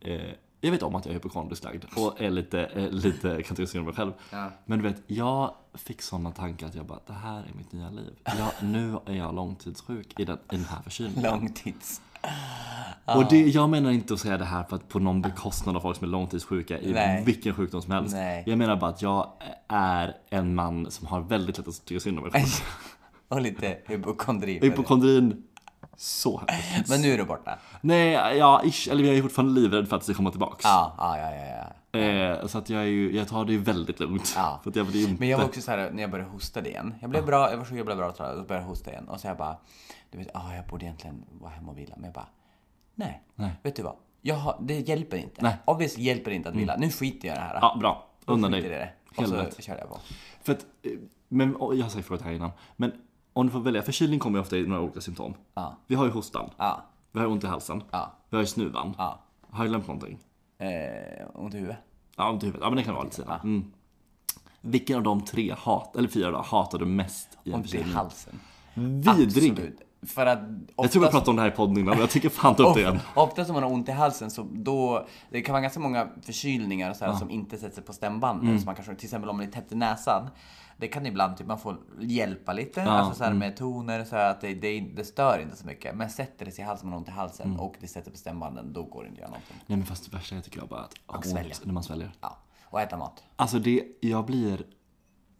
[SPEAKER 2] eh, jag vet om att jag är hypokondriskt lagd och är lite, eh, lite kan tycka synd om mig själv. Men du vet, jag fick sådana tankar att jag bara, det här är mitt nya liv. Jag, nu är jag långtidssjuk i den, i den här förkylningen.
[SPEAKER 1] Långtids.
[SPEAKER 2] Och det, jag menar inte att säga det här för att på någon bekostnad av folk som är långtidssjuka i
[SPEAKER 1] Nej.
[SPEAKER 2] vilken sjukdom som helst.
[SPEAKER 1] Nej.
[SPEAKER 2] Jag menar bara att jag är en man som har väldigt lätt att tycka synd om mig själv.
[SPEAKER 1] Och lite hypokondri.
[SPEAKER 2] Hypokondrin, så hemskt.
[SPEAKER 1] Men nu är det borta.
[SPEAKER 2] Nej, ja, ish, eller jag är fortfarande livrädd för att det ska komma tillbaks.
[SPEAKER 1] Ja, ja, ja, ja. ja.
[SPEAKER 2] Eh, så att jag, är ju, jag tar det ju väldigt lugnt.
[SPEAKER 1] Ja.
[SPEAKER 2] För att jag blir inte...
[SPEAKER 1] Men jag var också så här när jag började hosta igen. Jag blev bra, jag var sjuk, jag blev bra tror jag. Och så började jag hosta igen. Och så jag bara, du vet, ah, jag borde egentligen vara hemma och vila. Men jag bara, nej.
[SPEAKER 2] Nej.
[SPEAKER 1] Vet du vad? Jag har, det hjälper inte.
[SPEAKER 2] Nej. Mm.
[SPEAKER 1] Obviously hjälper det inte att vila. Nu skiter jag i det här.
[SPEAKER 2] Ja, bra.
[SPEAKER 1] Nu
[SPEAKER 2] Undan
[SPEAKER 1] skiter
[SPEAKER 2] dig.
[SPEAKER 1] jag i det. Och
[SPEAKER 2] Helt
[SPEAKER 1] så
[SPEAKER 2] rätt.
[SPEAKER 1] körde jag på.
[SPEAKER 2] För att, eh, men, och jag har säkert frågat det här innan. Men om du får välja, förkylning kommer ju ofta i några olika symptom.
[SPEAKER 1] Ja.
[SPEAKER 2] Vi har ju hostan.
[SPEAKER 1] Ja.
[SPEAKER 2] Vi har ju ont i halsen.
[SPEAKER 1] Ja.
[SPEAKER 2] Vi har ju snuvan.
[SPEAKER 1] Ja.
[SPEAKER 2] Har jag glömt någonting?
[SPEAKER 1] Eh, ont i huvudet.
[SPEAKER 2] Ja, ont i huvudet. Ja, men det kan vara lite senare. Mm. Vilken av de tre, hat, eller fyra då, hatar du mest i en
[SPEAKER 1] Ont i
[SPEAKER 2] förkylning?
[SPEAKER 1] halsen.
[SPEAKER 2] Vidrig!
[SPEAKER 1] Absolut. För att
[SPEAKER 2] Jag tror vi
[SPEAKER 1] oftast,
[SPEAKER 2] pratade om det här i podden innan, men jag tycker fan ta upp det igen.
[SPEAKER 1] of, oftast om man har ont i halsen så då, det kan vara ganska många förkylningar och så här, som inte sätter sig på stämbanden.
[SPEAKER 2] Mm.
[SPEAKER 1] Som man kanske, till exempel om det är täppt i näsan. Det kan ibland typ, man får hjälpa lite alltså
[SPEAKER 2] Mm.
[SPEAKER 1] så här, med toner så här, att det, det, det stör inte så mycket. Men sätter det sig i halsen, man har ont i halsen
[SPEAKER 2] Mm.
[SPEAKER 1] och det sätter på stämbanden, då går det inte att göra någonting.
[SPEAKER 2] Nej men fast det värsta jag tycker jag bara att ha
[SPEAKER 1] svälja.
[SPEAKER 2] ont när man sväljer.
[SPEAKER 1] Ja. Och äta mat.
[SPEAKER 2] Alltså det, jag blir,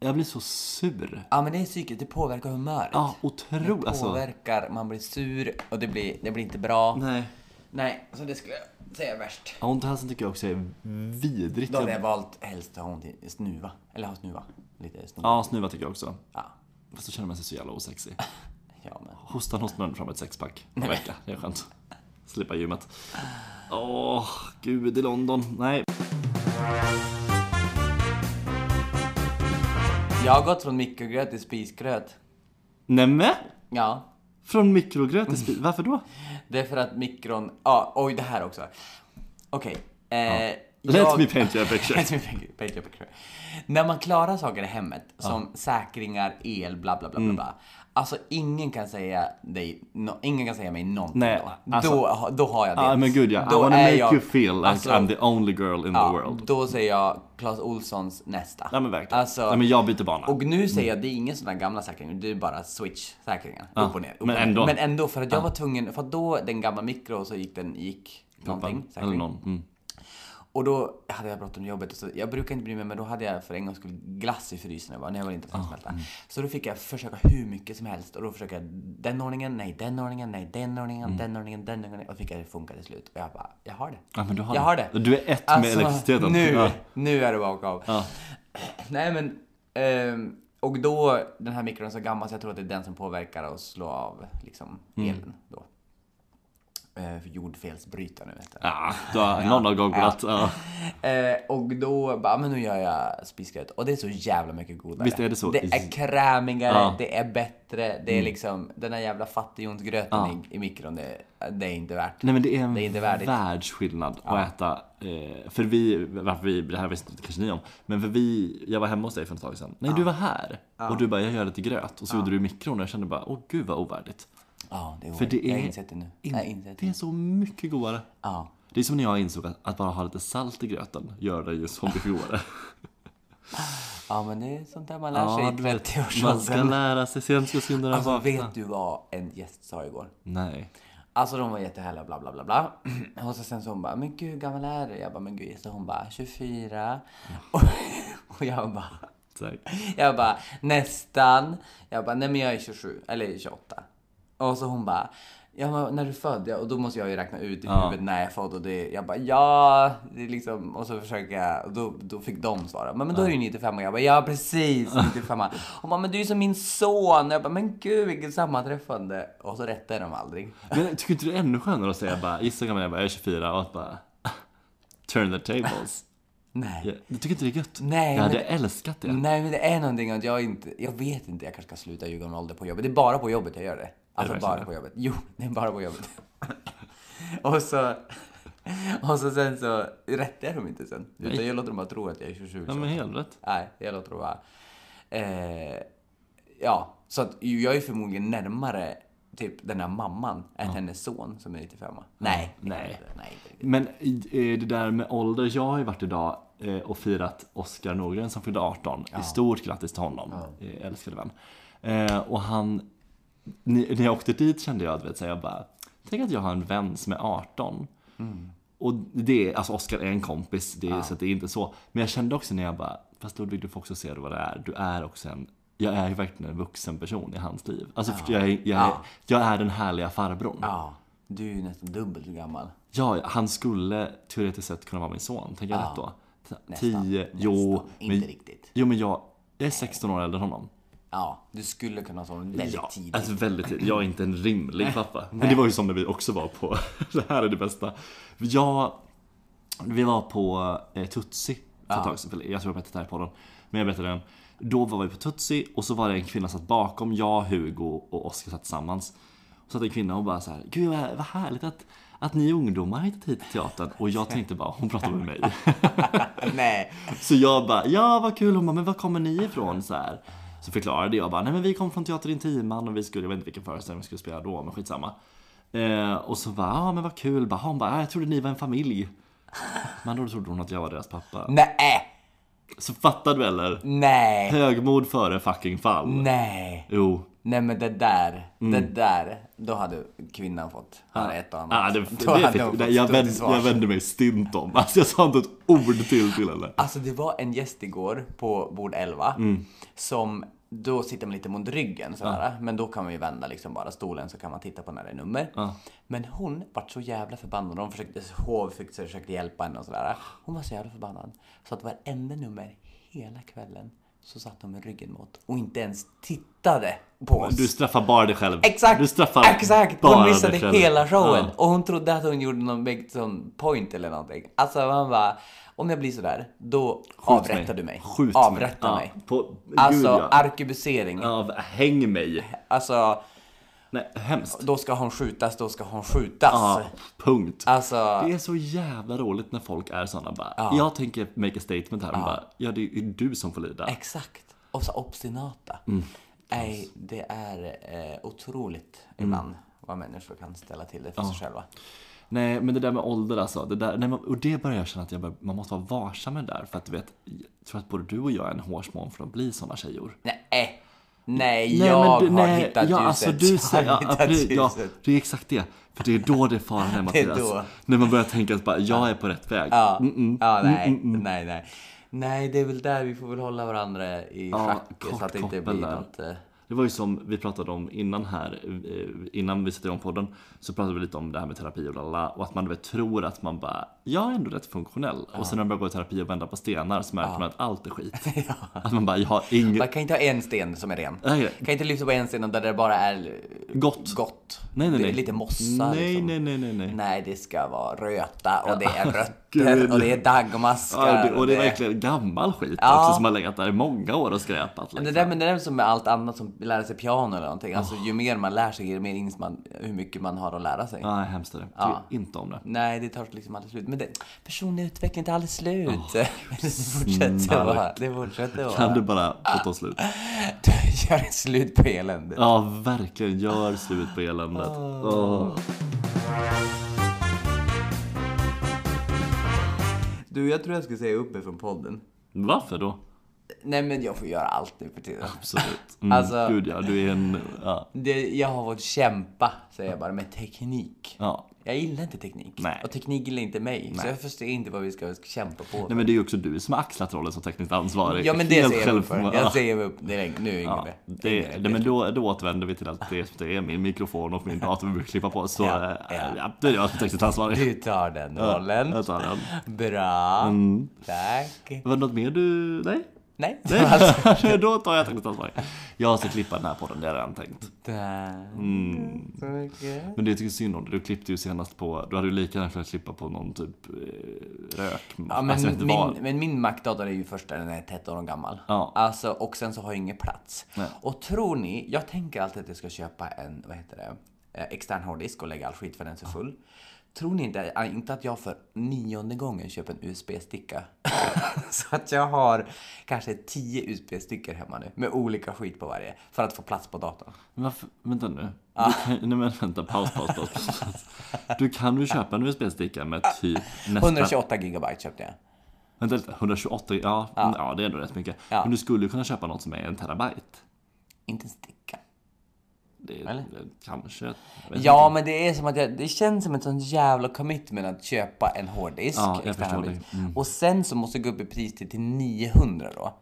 [SPEAKER 2] jag blir så sur.
[SPEAKER 1] Ja men det är psyket, det påverkar humöret.
[SPEAKER 2] Ja, otroligt alltså.
[SPEAKER 1] Påverkar, man blir sur och det blir, det blir inte bra.
[SPEAKER 2] Nej.
[SPEAKER 1] Nej, så det skulle jag säga är värst.
[SPEAKER 2] Ja, Ont i halsen tycker jag också är vidrigt.
[SPEAKER 1] Då hade jag valt helst att ha ont i snuva. Eller ha snuva. Lite snuva.
[SPEAKER 2] Ja, snuva tycker jag också.
[SPEAKER 1] Ja.
[SPEAKER 2] Fast då känner man sig så jävla osexig.
[SPEAKER 1] ja men.
[SPEAKER 2] Hostan hostar man fram ett sexpack per vecka. Det är skönt. Slippa gymmet. Åh, gud i London. Nej.
[SPEAKER 1] Jag har gått från mikrogröt till spisgröt.
[SPEAKER 2] Nämen!
[SPEAKER 1] Ja.
[SPEAKER 2] Från mikrogröt till
[SPEAKER 1] Mm.
[SPEAKER 2] spis. Varför då?
[SPEAKER 1] Det är för att mikron... Ja, oj det här också. Okej. eh,
[SPEAKER 2] Let
[SPEAKER 1] jag-
[SPEAKER 2] me paint you a picture.
[SPEAKER 1] Let me paint you- paint you a picture. När man klarar saker i hemmet, som säkringar, el, bla bla bla
[SPEAKER 2] Mm.
[SPEAKER 1] bla bla. Alltså ingen kan säga dig, no, ingen kan säga mig någonting
[SPEAKER 2] Nej,
[SPEAKER 1] då.
[SPEAKER 2] alltså-
[SPEAKER 1] då. ha- Då har jag det.
[SPEAKER 2] Ja men gud ja. I
[SPEAKER 1] Då
[SPEAKER 2] wanna
[SPEAKER 1] är
[SPEAKER 2] make
[SPEAKER 1] jag-
[SPEAKER 2] you feel like
[SPEAKER 1] alltså,
[SPEAKER 2] I'm the only girl in the world.
[SPEAKER 1] Då säger jag Clas Olssons nästa.
[SPEAKER 2] Nej men verkligen.
[SPEAKER 1] Alltså,
[SPEAKER 2] Nej men jag byter bana.
[SPEAKER 1] och nu säger
[SPEAKER 2] Mm.
[SPEAKER 1] jag, det är ingen sån där gamla säkring, det är bara switch-säkringar. upp och ner. Upp
[SPEAKER 2] men
[SPEAKER 1] och ner.
[SPEAKER 2] ändå.
[SPEAKER 1] men ändå, för att jag var tvungen, för att då, den gamla mikro, så gick den, gick någonting.
[SPEAKER 2] Eller
[SPEAKER 1] säkring.
[SPEAKER 2] någon. Mm.
[SPEAKER 1] Och då hade jag bråttom till jobbet, och så, jag brukar inte bry mig, men då hade jag för en gångs skull glass i frysen, jag bara, nej jag vill inte
[SPEAKER 2] Ah,
[SPEAKER 1] att smälta.
[SPEAKER 2] mm.
[SPEAKER 1] Så då fick jag försöka hur mycket som helst, och då försökte jag den ordningen, nej den ordningen, nej den ordningen,
[SPEAKER 2] Mm.
[SPEAKER 1] den ordningen, den ordningen, och fick jag det att funka till slut. Och jag bara, jag har det.
[SPEAKER 2] Ja, men du har
[SPEAKER 1] jag
[SPEAKER 2] det.
[SPEAKER 1] har det.
[SPEAKER 2] Du är ett med elektriciteten.
[SPEAKER 1] Alltså, Nu,
[SPEAKER 2] Ja.
[SPEAKER 1] nu är det bakav.
[SPEAKER 2] Ja.
[SPEAKER 1] Nej men, ehm, och då, den här mikron är så gammal så jag tror att det är den som påverkar och slår av liksom
[SPEAKER 2] Mm.
[SPEAKER 1] elen då. Eh, för jordfelsbrytare nu vet jag.
[SPEAKER 2] Ja, du har någon har googlat. Ja.
[SPEAKER 1] Eh, och då bara, men nu gör jag spisgröt. Och det är så jävla mycket godare.
[SPEAKER 2] Visst är det så?
[SPEAKER 1] Det är krämigare,
[SPEAKER 2] Ja. Mm.
[SPEAKER 1] det är bättre, det är liksom den här jävla fattighjonsgröten i, i mikron, det, det är inte värt.
[SPEAKER 2] Nej men det är en
[SPEAKER 1] Det är inte värdigt.
[SPEAKER 2] världsskillnad att äta. Eh, för vi, varför vi, det här visste inte kanske ni om. Men för vi, jag var hemma hos dig för ett tag sedan. Nej du var här. Och du bara, jag gör lite gröt. Och så gjorde du i mikron och jag kände bara, åh gud vad ovärdigt.
[SPEAKER 1] Ja, det är
[SPEAKER 2] För det
[SPEAKER 1] Jag har
[SPEAKER 2] är
[SPEAKER 1] insett det nu.
[SPEAKER 2] In-
[SPEAKER 1] Jag har insett
[SPEAKER 2] det
[SPEAKER 1] det.
[SPEAKER 2] är så mycket godare.
[SPEAKER 1] Ja.
[SPEAKER 2] Det är som när jag insåg att, att bara ha lite salt i gröten gör det ju så mycket godare.
[SPEAKER 1] ja, men det är sånt där man lär sig
[SPEAKER 2] du
[SPEAKER 1] i
[SPEAKER 2] vet, Man ska
[SPEAKER 1] 30-årsåldern.
[SPEAKER 2] lära sig, sent ska syndaren
[SPEAKER 1] Alltså
[SPEAKER 2] vakna.
[SPEAKER 1] vet du vad en gäst sa igår?
[SPEAKER 2] Nej.
[SPEAKER 1] Alltså de var jättehärliga bla bla bla bla. Och så sen så hon bara, men gud hur gammal är du? Jag bara, men gud. Så hon bara, 24. Och, och jag bara,
[SPEAKER 2] Tack.
[SPEAKER 1] jag bara, nästan. Jag bara, nej men jag är 27, eller 28. Och så hon bara, ja men när du är född? Ja, och då måste jag ju räkna ut i huvudet när jag är född. Och det, jag bara, ja. Det är liksom, och så försöker jag, och då, då fick de svara. Men, men då är du 95 och jag bara, ja precis 95. Hon bara, men du är ju som min son. Jag bara, men gud vilket sammanträffande. Och så rättade de aldrig.
[SPEAKER 2] Men tycker inte du det är ännu skönare att säga bara, gissa hur gammal jag är, jag är 24 och att bara Turn the tables.
[SPEAKER 1] Nej.
[SPEAKER 2] Ja, Du tycker inte det är gött?
[SPEAKER 1] Nej,
[SPEAKER 2] Jag
[SPEAKER 1] men
[SPEAKER 2] hade älskat det.
[SPEAKER 1] Nej men det är någonting att jag inte, jag vet inte, jag kanske ska sluta ljuga om ålder på jobbet. Det är bara på jobbet jag gör det. Alltså
[SPEAKER 2] verkligen
[SPEAKER 1] bara
[SPEAKER 2] det?
[SPEAKER 1] på jobbet. Jo, det är bara på jobbet. och så, och så sen så rättar jag dem inte sen. Utan jag låter dem bara tro att jag är 27.
[SPEAKER 2] Ja men helt rätt.
[SPEAKER 1] Nej, jag låter dem bara. Eh, ja, så att ju- jag är förmodligen närmare typ den här mamman än hennes son som är 95. Nej, det kan jag
[SPEAKER 2] Nej.
[SPEAKER 1] inte. nej. det-
[SPEAKER 2] Men eh, det där med ålder, jag har ju varit idag eh, och firat Oskar Norgren som fyllde 18. Stort grattis till honom, eh, älskade vän. Eh, Och han, ni- när jag åkte dit kände jag, du vet, så här, jag bara, tänk att jag har en vän som är 18.
[SPEAKER 1] Mm.
[SPEAKER 2] Och det, är- alltså Oskar är en kompis, det, är- så att det är inte så. Men jag kände också när jag bara, fast Ludvig du får också se vad det är. Du är också en, jag är ju verkligen en vuxen person i hans liv. Alltså förstår jag, jag, jag,
[SPEAKER 1] Ja.
[SPEAKER 2] jag är den härliga farbrorn.
[SPEAKER 1] Ja, du är ju nästan dubbelt så gammal.
[SPEAKER 2] Ja, han skulle teoretiskt sett kunna vara min son. Tänker jag rätt då? T-
[SPEAKER 1] Nästan,
[SPEAKER 2] Tio, jo.
[SPEAKER 1] Nästan,
[SPEAKER 2] Men,
[SPEAKER 1] Inte riktigt.
[SPEAKER 2] jo men jag, jag är 16 år äldre än honom.
[SPEAKER 1] Ja, du skulle kunna ha sån väldigt
[SPEAKER 2] Ja,
[SPEAKER 1] tidigt.
[SPEAKER 2] alltså väldigt tidigt. Jag är inte en rimlig pappa. Men det var ju som när vi också var på, det här är det bästa. Jag, vi var på eh, Tutsi för ett tag sedan. Eller, Jag tror jag berättade det här på podden. Men jag berättade den. Då var vi på Tutsi och så var det en kvinna som satt bakom. Jag, Hugo och Oskar satt tillsammans. Och satt en kvinna och bara så här, gud vad vad härligt att, att ni ungdomar har hittat hit till teatern. Och jag tänkte bara, hon pratar med mig.
[SPEAKER 1] Nej.
[SPEAKER 2] Så jag bara, ja vad kul, hon bara, men var kommer ni ifrån? Så, här. så förklarade jag bara, nej men vi kom från Teater Intiman och vi skulle, jag vet inte vilken föreställning vi skulle spela då, men skitsamma. Eh, och så bara, ja men vad kul, bara, hon bara, ja, jag trodde ni var en familj. Men då trodde hon att jag var deras pappa.
[SPEAKER 1] Nej. äh,
[SPEAKER 2] Så fattar du eller?
[SPEAKER 1] Nej.
[SPEAKER 2] Högmod före fucking fall.
[SPEAKER 1] Nej.
[SPEAKER 2] Jo.
[SPEAKER 1] Nej men det där. Det
[SPEAKER 2] Mm.
[SPEAKER 1] där. Då hade kvinnan fått höra ett och annat.
[SPEAKER 2] Ah, det,
[SPEAKER 1] då
[SPEAKER 2] det,
[SPEAKER 1] hade
[SPEAKER 2] fick,
[SPEAKER 1] hon fått
[SPEAKER 2] nej, jag,
[SPEAKER 1] stå till
[SPEAKER 2] vänd,
[SPEAKER 1] svars.
[SPEAKER 2] jag vände mig stint om. Alltså jag sa inte ett ord till till henne.
[SPEAKER 1] Alltså det var en gäst igår på bord 11 som då sitter man lite mot ryggen sådär, men då kan man ju vända liksom bara stolen så kan man titta på när det är nummer. Men hon vart så jävla förbannad. De försökte, hov fick- försökte hjälpa henne och sådär. Hon var så jävla förbannad. Så att varenda nummer hela kvällen så satt hon med ryggen mot och inte ens tittade på oss.
[SPEAKER 2] Du straffar bara dig själv.
[SPEAKER 1] Exakt!
[SPEAKER 2] Du straffar
[SPEAKER 1] exakt!
[SPEAKER 2] bara
[SPEAKER 1] Hon
[SPEAKER 2] dig
[SPEAKER 1] missade
[SPEAKER 2] själv.
[SPEAKER 1] hela showen.
[SPEAKER 2] Ja.
[SPEAKER 1] Och hon trodde att hon gjorde någon big sån point eller någonting. Alltså man bara, om jag blir sådär, då avrättar du mig.
[SPEAKER 2] Skjut
[SPEAKER 1] avrätta
[SPEAKER 2] Ja,
[SPEAKER 1] mig.
[SPEAKER 2] På,
[SPEAKER 1] Alltså
[SPEAKER 2] gud, ja.
[SPEAKER 1] arkebusering.
[SPEAKER 2] Ja, häng mig.
[SPEAKER 1] Alltså,
[SPEAKER 2] Nej, hemskt.
[SPEAKER 1] Då ska hon skjutas, då ska hon skjutas.
[SPEAKER 2] Ja, punkt.
[SPEAKER 1] Alltså,
[SPEAKER 2] Det är så jävla roligt när folk är såna bara. Jag tänker make a statement här. men Bara, ja, det är du som får lida.
[SPEAKER 1] exakt. Och så obstinata.
[SPEAKER 2] Mm.
[SPEAKER 1] Nej, det är eh, otroligt
[SPEAKER 2] Mm.
[SPEAKER 1] ibland vad människor kan ställa till det för sig själva.
[SPEAKER 2] Nej, men det där med ålder alltså. Det där, nej, men- och det börjar jag känna att jag bör, man måste vara varsam med det där. För att du vet, jag tror att både du och jag är en hårsmån från att bli såna tjejor.
[SPEAKER 1] Nej, nej,
[SPEAKER 2] Nej,
[SPEAKER 1] jag
[SPEAKER 2] men du-
[SPEAKER 1] har
[SPEAKER 2] nej,
[SPEAKER 1] hittat
[SPEAKER 2] ja,
[SPEAKER 1] ljuset.
[SPEAKER 2] Alltså, du säger,
[SPEAKER 1] jag
[SPEAKER 2] ja,
[SPEAKER 1] har
[SPEAKER 2] ja,
[SPEAKER 1] hittat
[SPEAKER 2] precis, ja,
[SPEAKER 1] ljuset.
[SPEAKER 2] det är exakt det. För det är då det är faran är
[SPEAKER 1] Det är
[SPEAKER 2] Mattias.
[SPEAKER 1] då.
[SPEAKER 2] När man börjar tänka att bara, jag är på rätt väg.
[SPEAKER 1] Ja,
[SPEAKER 2] mm.
[SPEAKER 1] ja nej, nej, nej. Nej, det är väl där vi får väl hålla varandra i
[SPEAKER 2] Ja,
[SPEAKER 1] schack så
[SPEAKER 2] kort
[SPEAKER 1] att det inte
[SPEAKER 2] koppel
[SPEAKER 1] blir
[SPEAKER 2] där.
[SPEAKER 1] något... eh,
[SPEAKER 2] Det var ju som vi pratade om innan här, eh, innan vi satte igång podden, så pratade vi lite om det här med terapi och lalala, och att man väl tror att man bara, jag är ändå rätt funktionell. Och sen när man börjar gå i terapi och vända på stenar så märker man att allt är skit. Att man bara, jag har
[SPEAKER 1] Man
[SPEAKER 2] inget
[SPEAKER 1] kan inte ha en sten som är ren.
[SPEAKER 2] Nej.
[SPEAKER 1] Kan inte lyfta på en sten där det bara är eh,
[SPEAKER 2] gott.
[SPEAKER 1] gott.
[SPEAKER 2] Nej, nej,
[SPEAKER 1] Det är
[SPEAKER 2] nej.
[SPEAKER 1] Lite mossa
[SPEAKER 2] Nej,
[SPEAKER 1] liksom.
[SPEAKER 2] nej, nej, nej, nej.
[SPEAKER 1] Nej, det ska vara röta och det är
[SPEAKER 2] Gud.
[SPEAKER 1] rötter och det är daggmaskar.
[SPEAKER 2] Ja, det, och det är verkligen gammal skit också som har legat där i många år och skräpat.
[SPEAKER 1] Men det
[SPEAKER 2] Liksom.
[SPEAKER 1] där, men det där är som med allt annat som lära sig piano eller någonting. Alltså ju mer man lär sig, ju mer inser man hur mycket man har att lära sig.
[SPEAKER 2] Nej, hemskt är det. Tycker inte om det.
[SPEAKER 1] Nej, det tar liksom aldrig slut. Men det, personlig utveckling tar aldrig slut. det fortsätter vara. Det fortsätter
[SPEAKER 2] Kan
[SPEAKER 1] vara.
[SPEAKER 2] du bara få ta slut?
[SPEAKER 1] Du gör ett slut på eländet.
[SPEAKER 2] Ja, verkligen. Gör slut på eländet. Åh.
[SPEAKER 1] Du, jag tror jag ska säga upp mig från podden.
[SPEAKER 2] Varför då?
[SPEAKER 1] Nej, men jag får göra allt nu för tiden.
[SPEAKER 2] Absolut. Mm,
[SPEAKER 1] Alltså-
[SPEAKER 2] Gud ja, du är en... Ja.
[SPEAKER 1] Det, jag har fått kämpa, säger jag bara, med teknik.
[SPEAKER 2] ja.
[SPEAKER 1] Jag gillar inte teknik.
[SPEAKER 2] Nej.
[SPEAKER 1] Och teknik gillar inte mig. Så jag förstår inte vad vi ska kämpa på.
[SPEAKER 2] Nej men det är ju också du som har axlat rollen som tekniskt ansvarig.
[SPEAKER 1] ja, men det
[SPEAKER 2] Helt
[SPEAKER 1] säger jag upp för.
[SPEAKER 2] själv-
[SPEAKER 1] Jag säger upp direkt. Nu Yngve.
[SPEAKER 2] Ja, det, nej, men då, då återvänder vi till att det, det är min mikrofon och min dator vi brukar klippa på. Så
[SPEAKER 1] Ja,
[SPEAKER 2] ja,
[SPEAKER 1] ja.
[SPEAKER 2] ja. det är jag som tekniskt ansvarig.
[SPEAKER 1] Du tar den rollen.
[SPEAKER 2] Jag tar den.
[SPEAKER 1] Bra. Tack.
[SPEAKER 2] Var det något mer du... Nej?
[SPEAKER 1] Nej.
[SPEAKER 2] Mm. Nej. Alltså, då tar jag tekniskt ansvarig. Jag ska klippa den här podden, det har jag redan tänkt.
[SPEAKER 1] Tack
[SPEAKER 2] Mm.
[SPEAKER 1] så mycket.
[SPEAKER 2] Men det tycker jag synd om dig. Du klippte ju senast på... Du hade ju lika gärna kunnat klippa på någon typ eh, rök.
[SPEAKER 1] Ja, men,
[SPEAKER 2] Alltså, jag vet inte vad.
[SPEAKER 1] min, men min Mac-dator är ju först när den är 13 år gammal.
[SPEAKER 2] Ja.
[SPEAKER 1] Alltså, och sen så har jag ingen plats. Och tror ni, jag tänker alltid att jag ska köpa en, vad heter det, eh, extern hårddisk och lägga all skit för den är så full. Tror ni inte, eh, inte att jag för nionde gången köper en USB-sticka? så att jag har kanske 10 USB-stickor hemma nu med olika skit på varje för att få plats på datorn.
[SPEAKER 2] Men Varför? Vänta nu.
[SPEAKER 1] Ah.
[SPEAKER 2] Du kan, nej men vänta, paus, paus, paus. paus. Du kan ju köpa en USB-sticka med
[SPEAKER 1] Ah,
[SPEAKER 2] typ nästan...
[SPEAKER 1] 128 gigabyte köpte jag.
[SPEAKER 2] Vänta lite, 128, ja, ja. ja det är ändå rätt mycket.
[SPEAKER 1] Ah. Ja.
[SPEAKER 2] Men du skulle ju kunna köpa något som är en terabyte.
[SPEAKER 1] Inte en sticka.
[SPEAKER 2] Det är
[SPEAKER 1] Eller?
[SPEAKER 2] kanske... jag vet
[SPEAKER 1] Ja, men det är som att jag, det känns som ett sånt jävla commitment att köpa en hårddisk.
[SPEAKER 2] Ja, jag
[SPEAKER 1] extern
[SPEAKER 2] förstår Mm.
[SPEAKER 1] hårddisk. liksom. Och sen så måste jag gå upp i pris till, till 900 då.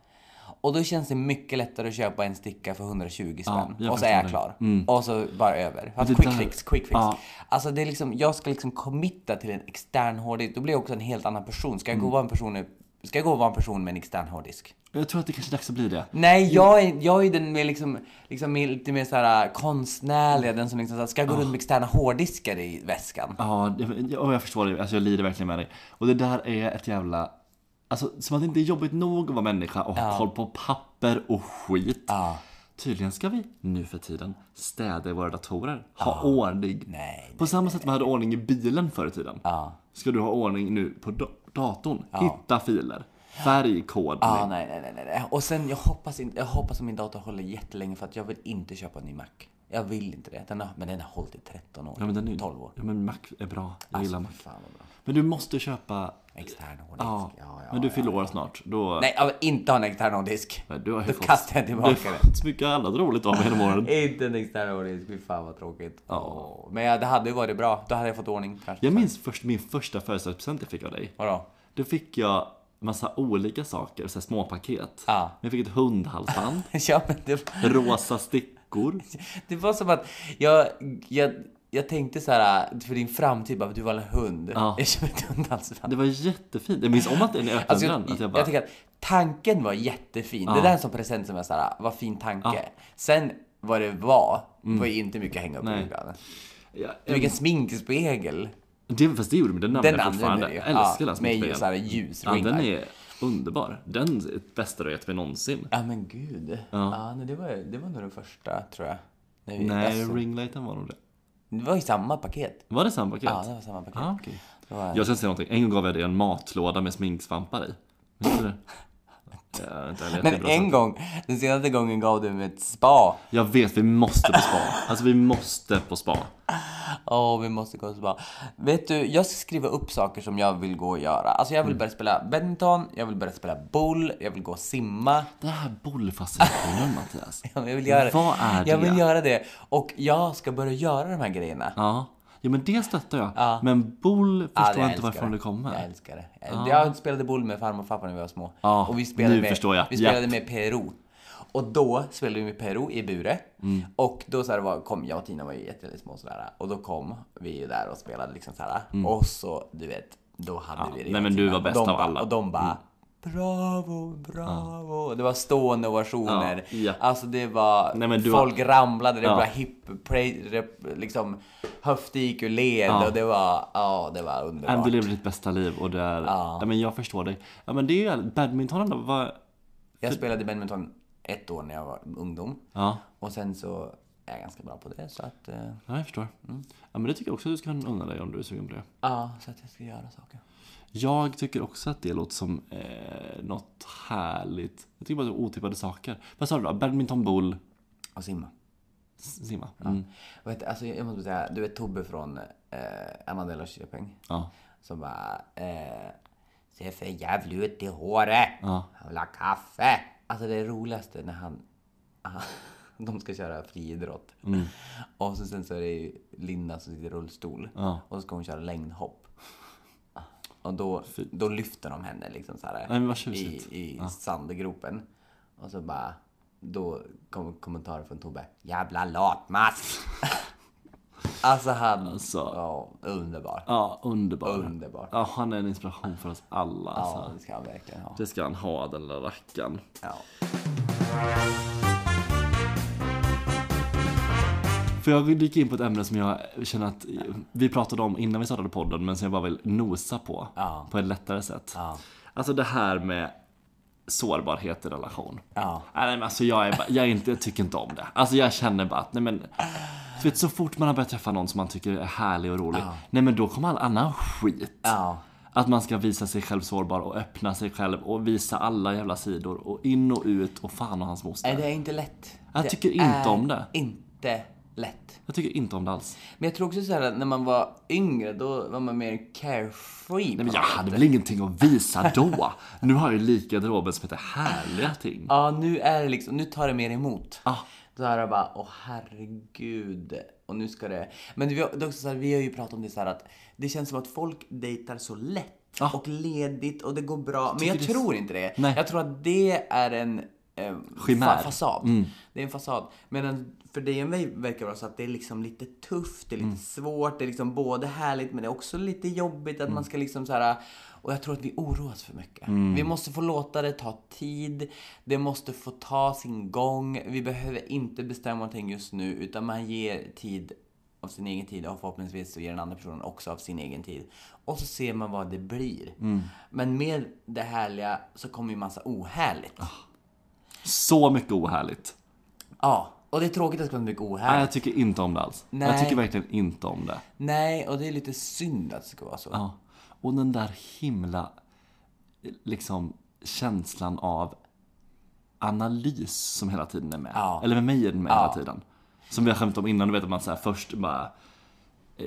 [SPEAKER 1] Och då känns det mycket lättare att köpa en sticka för 120 spänn.
[SPEAKER 2] jag
[SPEAKER 1] och så är jag
[SPEAKER 2] förstår Mm.
[SPEAKER 1] klar. Och så bara över. Fast
[SPEAKER 2] det
[SPEAKER 1] quick
[SPEAKER 2] där-
[SPEAKER 1] fix, quick fix.
[SPEAKER 2] Ja.
[SPEAKER 1] Alltså det är liksom, jag ska liksom committa till en extern hårddisk. Då blir jag också en helt annan person.
[SPEAKER 2] Mm.
[SPEAKER 1] Ska jag gå och vara en person, ska jag gå och vara en person med en extern hårddisk?
[SPEAKER 2] inte. Jag tror att det kanske är dags att bli det.
[SPEAKER 1] Nej, jag är, jag är den mer liksom, liksom mer- lite mer såhär konstnärliga, den som liksom såhär, ska gå
[SPEAKER 2] Ah.
[SPEAKER 1] runt med externa hårddiskar i väskan.
[SPEAKER 2] Ja, det- ja, jag förstår det. Alltså jag lider verkligen med dig. Och det där är ett jävla... Alltså som att det inte är jobbigt nog att vara människa och ha koll på papper och skit. Tydligen ska vi nu för tiden städa i våra datorer. Ha ordning.
[SPEAKER 1] Nej.
[SPEAKER 2] På samma sätt man hade ordning i bilen förr i tiden. Ska du ha ordning nu på da- datorn. Hitta filer. Färg, kodning.
[SPEAKER 1] Ah, nej, nej, nej, nej, nej. Och sen jag hoppas, inte, jag hoppas att min dator håller jättelänge för att jag vill inte köpa en ny Mac. Jag vill inte det. Den har, men den har hållit i 13 år.
[SPEAKER 2] Ja, men den är,
[SPEAKER 1] 12 år. Alltså.
[SPEAKER 2] Ja, men Mac är bra. Jag gillar Mac.
[SPEAKER 1] Fan vad bra.
[SPEAKER 2] Men du måste köpa...
[SPEAKER 1] Extern hårddisk.
[SPEAKER 2] Ja,
[SPEAKER 1] Ja, ja,
[SPEAKER 2] men du fyller år snart. Då...
[SPEAKER 1] Nej, jag vill inte ha en extern hårddisk.
[SPEAKER 2] Nej, du har ju
[SPEAKER 1] Då
[SPEAKER 2] fått-
[SPEAKER 1] kastar jag
[SPEAKER 2] Du har
[SPEAKER 1] tillbaka den.
[SPEAKER 2] fått så mycket annat roligt av mig genom åren.
[SPEAKER 1] Inte en extern hårddisk, fy fan vad tråkigt. Åh, Men ja, det hade ju varit bra. Då hade jag fått ordning kanske.
[SPEAKER 2] Jag minns först min första födelsedagspresent jag fick av dig.
[SPEAKER 1] Vadå?
[SPEAKER 2] Då fick jag massa olika saker, så här små paket.
[SPEAKER 1] Ja.
[SPEAKER 2] Men Jag fick ett hundhalsband,
[SPEAKER 1] Ja, men det,
[SPEAKER 2] rosa stickor.
[SPEAKER 1] Det var som att jag, jag, jag tänkte så här för din framtid, bara, du var en hund.
[SPEAKER 2] Ja.
[SPEAKER 1] Jag kände ett hundhalsband.
[SPEAKER 2] Det var jättefint. Jag minns om att den öppnade
[SPEAKER 1] Alltså,
[SPEAKER 2] den.
[SPEAKER 1] jag,
[SPEAKER 2] Att jag
[SPEAKER 1] jag,
[SPEAKER 2] bara,
[SPEAKER 1] tycker att tanken var jättefin. Det där är en sån present som jag så här, vad fin tanke. Sen vad det var, var ju inte mycket att hänga upp i
[SPEAKER 2] Mm. Nej.
[SPEAKER 1] julgranen.
[SPEAKER 2] ja,
[SPEAKER 1] Du fick en sminkspegel.
[SPEAKER 2] det, fast det gjorde mig, den
[SPEAKER 1] Den
[SPEAKER 2] använder jag fortfarande.
[SPEAKER 1] använder du ju.
[SPEAKER 2] Jag älskar den
[SPEAKER 1] Med ju så här
[SPEAKER 2] sminkregeln. Ja,
[SPEAKER 1] ljusringar.
[SPEAKER 2] den är underbar. Den är det bästa du har gett mig nånsin.
[SPEAKER 1] Ja men gud. Ja. nej, det, var, det var nog den första tror jag. när vi
[SPEAKER 2] Nej,
[SPEAKER 1] alltså,
[SPEAKER 2] ringlighten var nog det.
[SPEAKER 1] Det var ju samma paket.
[SPEAKER 2] Var det samma paket?
[SPEAKER 1] Ja, det var samma paket.
[SPEAKER 2] Ah, okej.
[SPEAKER 1] Det var-
[SPEAKER 2] Jag ska säga någonting. En gång gav jag dig en matlåda med sminksvampar i. Minns du det? Jag har inte heller
[SPEAKER 1] Men
[SPEAKER 2] jättebra
[SPEAKER 1] en gång, den senaste gången gav du mig ett spa.
[SPEAKER 2] Jag vet, vi måste på spa. Alltså vi måste på spa.
[SPEAKER 1] Åh, vi måste gå och spa. Vet du, jag ska skriva upp saker som jag vill gå och göra. Alltså jag vill börja spela badminton, jag vill börja spela boll, jag vill gå och simma.
[SPEAKER 2] Den här bollfascinationen Mattias.
[SPEAKER 1] Ja, men Jag vill göra,
[SPEAKER 2] Vad är det?
[SPEAKER 1] Jag vill göra det. Och jag ska börja göra de här grejerna.
[SPEAKER 2] Ja. ja, men det stöttar jag. Men boll
[SPEAKER 1] Ja,
[SPEAKER 2] förstår jag inte
[SPEAKER 1] älskar
[SPEAKER 2] varifrån
[SPEAKER 1] det.
[SPEAKER 2] det kommer.
[SPEAKER 1] Jag älskar det. Jag spelade boll med farmor och pappa när vi var små.
[SPEAKER 2] Ja,
[SPEAKER 1] och vi spelade
[SPEAKER 2] nu
[SPEAKER 1] med,
[SPEAKER 2] förstår jag.
[SPEAKER 1] Vi spelade
[SPEAKER 2] Japp.
[SPEAKER 1] med Peru. Och då spelade vi med Peru i Bure.
[SPEAKER 2] Mm.
[SPEAKER 1] Och då så här var, kom jag och Tina var ju jätte- jätte små sådär. Och då kom vi ju där och spelade liksom såhär. Och så, du vet, då hade vi det.
[SPEAKER 2] Mm. nej,
[SPEAKER 1] med
[SPEAKER 2] men du
[SPEAKER 1] Tina.
[SPEAKER 2] var bäst
[SPEAKER 1] de,
[SPEAKER 2] av
[SPEAKER 1] bara-
[SPEAKER 2] alla. Mm.
[SPEAKER 1] Och de bara Bravo, bravo. Det var stående ovationer.
[SPEAKER 2] Ja, ja.
[SPEAKER 1] Alltså det var...
[SPEAKER 2] Nej, men du var-
[SPEAKER 1] folk ramlade, det
[SPEAKER 2] Ja.
[SPEAKER 1] var hip, pre, rep, liksom höftdik ur led
[SPEAKER 2] Ja.
[SPEAKER 1] och det var... Ja, det var underbart.
[SPEAKER 2] Men Du lever ditt bästa liv och det är... Ja. men jag förstår dig. Ja, men det är badminton då, vad...
[SPEAKER 1] Jag spelade badminton ett år när jag var ungdom.
[SPEAKER 2] Ja,
[SPEAKER 1] Och sen så är jag ganska bra på det så att... eh,
[SPEAKER 2] ja, jag förstår. Mm. Ja, men det tycker jag också att du ska unna dig om du är sugen på det.
[SPEAKER 1] Ja, så att jag ska göra saker.
[SPEAKER 2] Jag tycker också att det låter som eh, något härligt. Jag tycker bara det är otippade saker. Vad sa du då? Badminton, boll,
[SPEAKER 1] Och simma.
[SPEAKER 2] s- simma? Mm.
[SPEAKER 1] Vet, alltså, jag måste säga, du vet Tobbe från eh, Amandella Köping?
[SPEAKER 2] Ja.
[SPEAKER 1] Som bara... Eh, ser för jävligt ut i håret!
[SPEAKER 2] Ja.
[SPEAKER 1] Han vill ha kaffe! Alltså det roligaste när han... De ska köra friidrott.
[SPEAKER 2] Mm.
[SPEAKER 1] Och så, sen så är det ju Linda som sitter i rullstol.
[SPEAKER 2] Ja.
[SPEAKER 1] Och så ska hon köra längdhopp. Och då, då lyfter de henne liksom så här
[SPEAKER 2] Nej, men vad
[SPEAKER 1] i,
[SPEAKER 2] tjusigt.
[SPEAKER 1] i sandgropen. Och så bara... Då kommer kommentarer från Tobbe. Jävla latmask! alltså han...
[SPEAKER 2] Alltså.
[SPEAKER 1] Ja, underbar.
[SPEAKER 2] Ja, underbar.
[SPEAKER 1] Underbar.
[SPEAKER 2] Ja, han är en inspiration för oss alla.
[SPEAKER 1] Ja,
[SPEAKER 2] Alltså.
[SPEAKER 1] det ska han verkligen ha.
[SPEAKER 2] Det ska han ha, den lilla rackaren.
[SPEAKER 1] Ja.
[SPEAKER 2] För jag vill dyka in på ett ämne som jag känner att eh, vi pratade om innan vi startade podden, men som jag bara vill nosa på.
[SPEAKER 1] Ja.
[SPEAKER 2] På ett lättare sätt.
[SPEAKER 1] Ja.
[SPEAKER 2] Alltså det här med sårbarhet i relation.
[SPEAKER 1] Ja.
[SPEAKER 2] Nej, nej, men alltså jag, är, bara- jag, är inte, jag tycker inte om det. Alltså jag känner bara att, nej men. Du vet, så fort man har börjat träffa någon som man tycker är härlig och rolig, nej men då kommer all annan skit.
[SPEAKER 1] Ja.
[SPEAKER 2] Att man ska visa sig själv sårbar och öppna sig själv och visa alla jävla sidor och in och ut och fan och hans
[SPEAKER 1] Nej,
[SPEAKER 2] moster.
[SPEAKER 1] det är inte lätt.
[SPEAKER 2] Jag
[SPEAKER 1] det
[SPEAKER 2] tycker inte
[SPEAKER 1] är
[SPEAKER 2] om det.
[SPEAKER 1] inte lätt.
[SPEAKER 2] Jag tycker inte om det alls.
[SPEAKER 1] Men jag tror också så här att när man var yngre, då var man mer carefree.
[SPEAKER 2] Nej men jag hade väl ingenting att visa då. Nu har jag ju lika garderoben som heter härliga ting.
[SPEAKER 1] Ja, nu är det liksom, nu tar det mer emot.
[SPEAKER 2] Ah.
[SPEAKER 1] Då är det bara, åh herregud. Och nu ska det... Men vi har, det är också så här, vi har ju pratat om det så här att det känns som att folk dejtar så lätt
[SPEAKER 2] Ah.
[SPEAKER 1] och ledigt och det går bra. Men jag
[SPEAKER 2] tycker det-
[SPEAKER 1] tror inte det.
[SPEAKER 2] Nej.
[SPEAKER 1] Jag tror att det är en eh,
[SPEAKER 2] Chimär.
[SPEAKER 1] fa- fasad. Det är en fasad. Medan för dig och mig verkar det vara så att det är liksom lite tufft, det är lite svårt, det är liksom både härligt men det är också lite jobbigt att man ska liksom så här. Och jag tror att vi oroas för mycket. Vi måste få låta det ta tid. Det måste få ta sin gång. Vi behöver inte bestämma någonting just nu utan man ger tid av sin egen tid och förhoppningsvis så ger den andra personen också av sin egen tid. Och så ser man vad det blir. Men med det härliga så kommer ju massa ohärligt.
[SPEAKER 2] Så mycket ohärligt.
[SPEAKER 1] Ja, och det är tråkigt att det ska vara mycket
[SPEAKER 2] Nej,
[SPEAKER 1] ohärligt.
[SPEAKER 2] jag tycker inte om det alls. Jag
[SPEAKER 1] Nej.
[SPEAKER 2] tycker verkligen inte om det.
[SPEAKER 1] Nej, och det är lite synd att det ska vara så.
[SPEAKER 2] Ja. Och den där himla liksom känslan av analys som hela tiden är med.
[SPEAKER 1] Ja.
[SPEAKER 2] Eller med mig är den med hela tiden. Som vi har skämt om innan, du vet att man så här först bara eh,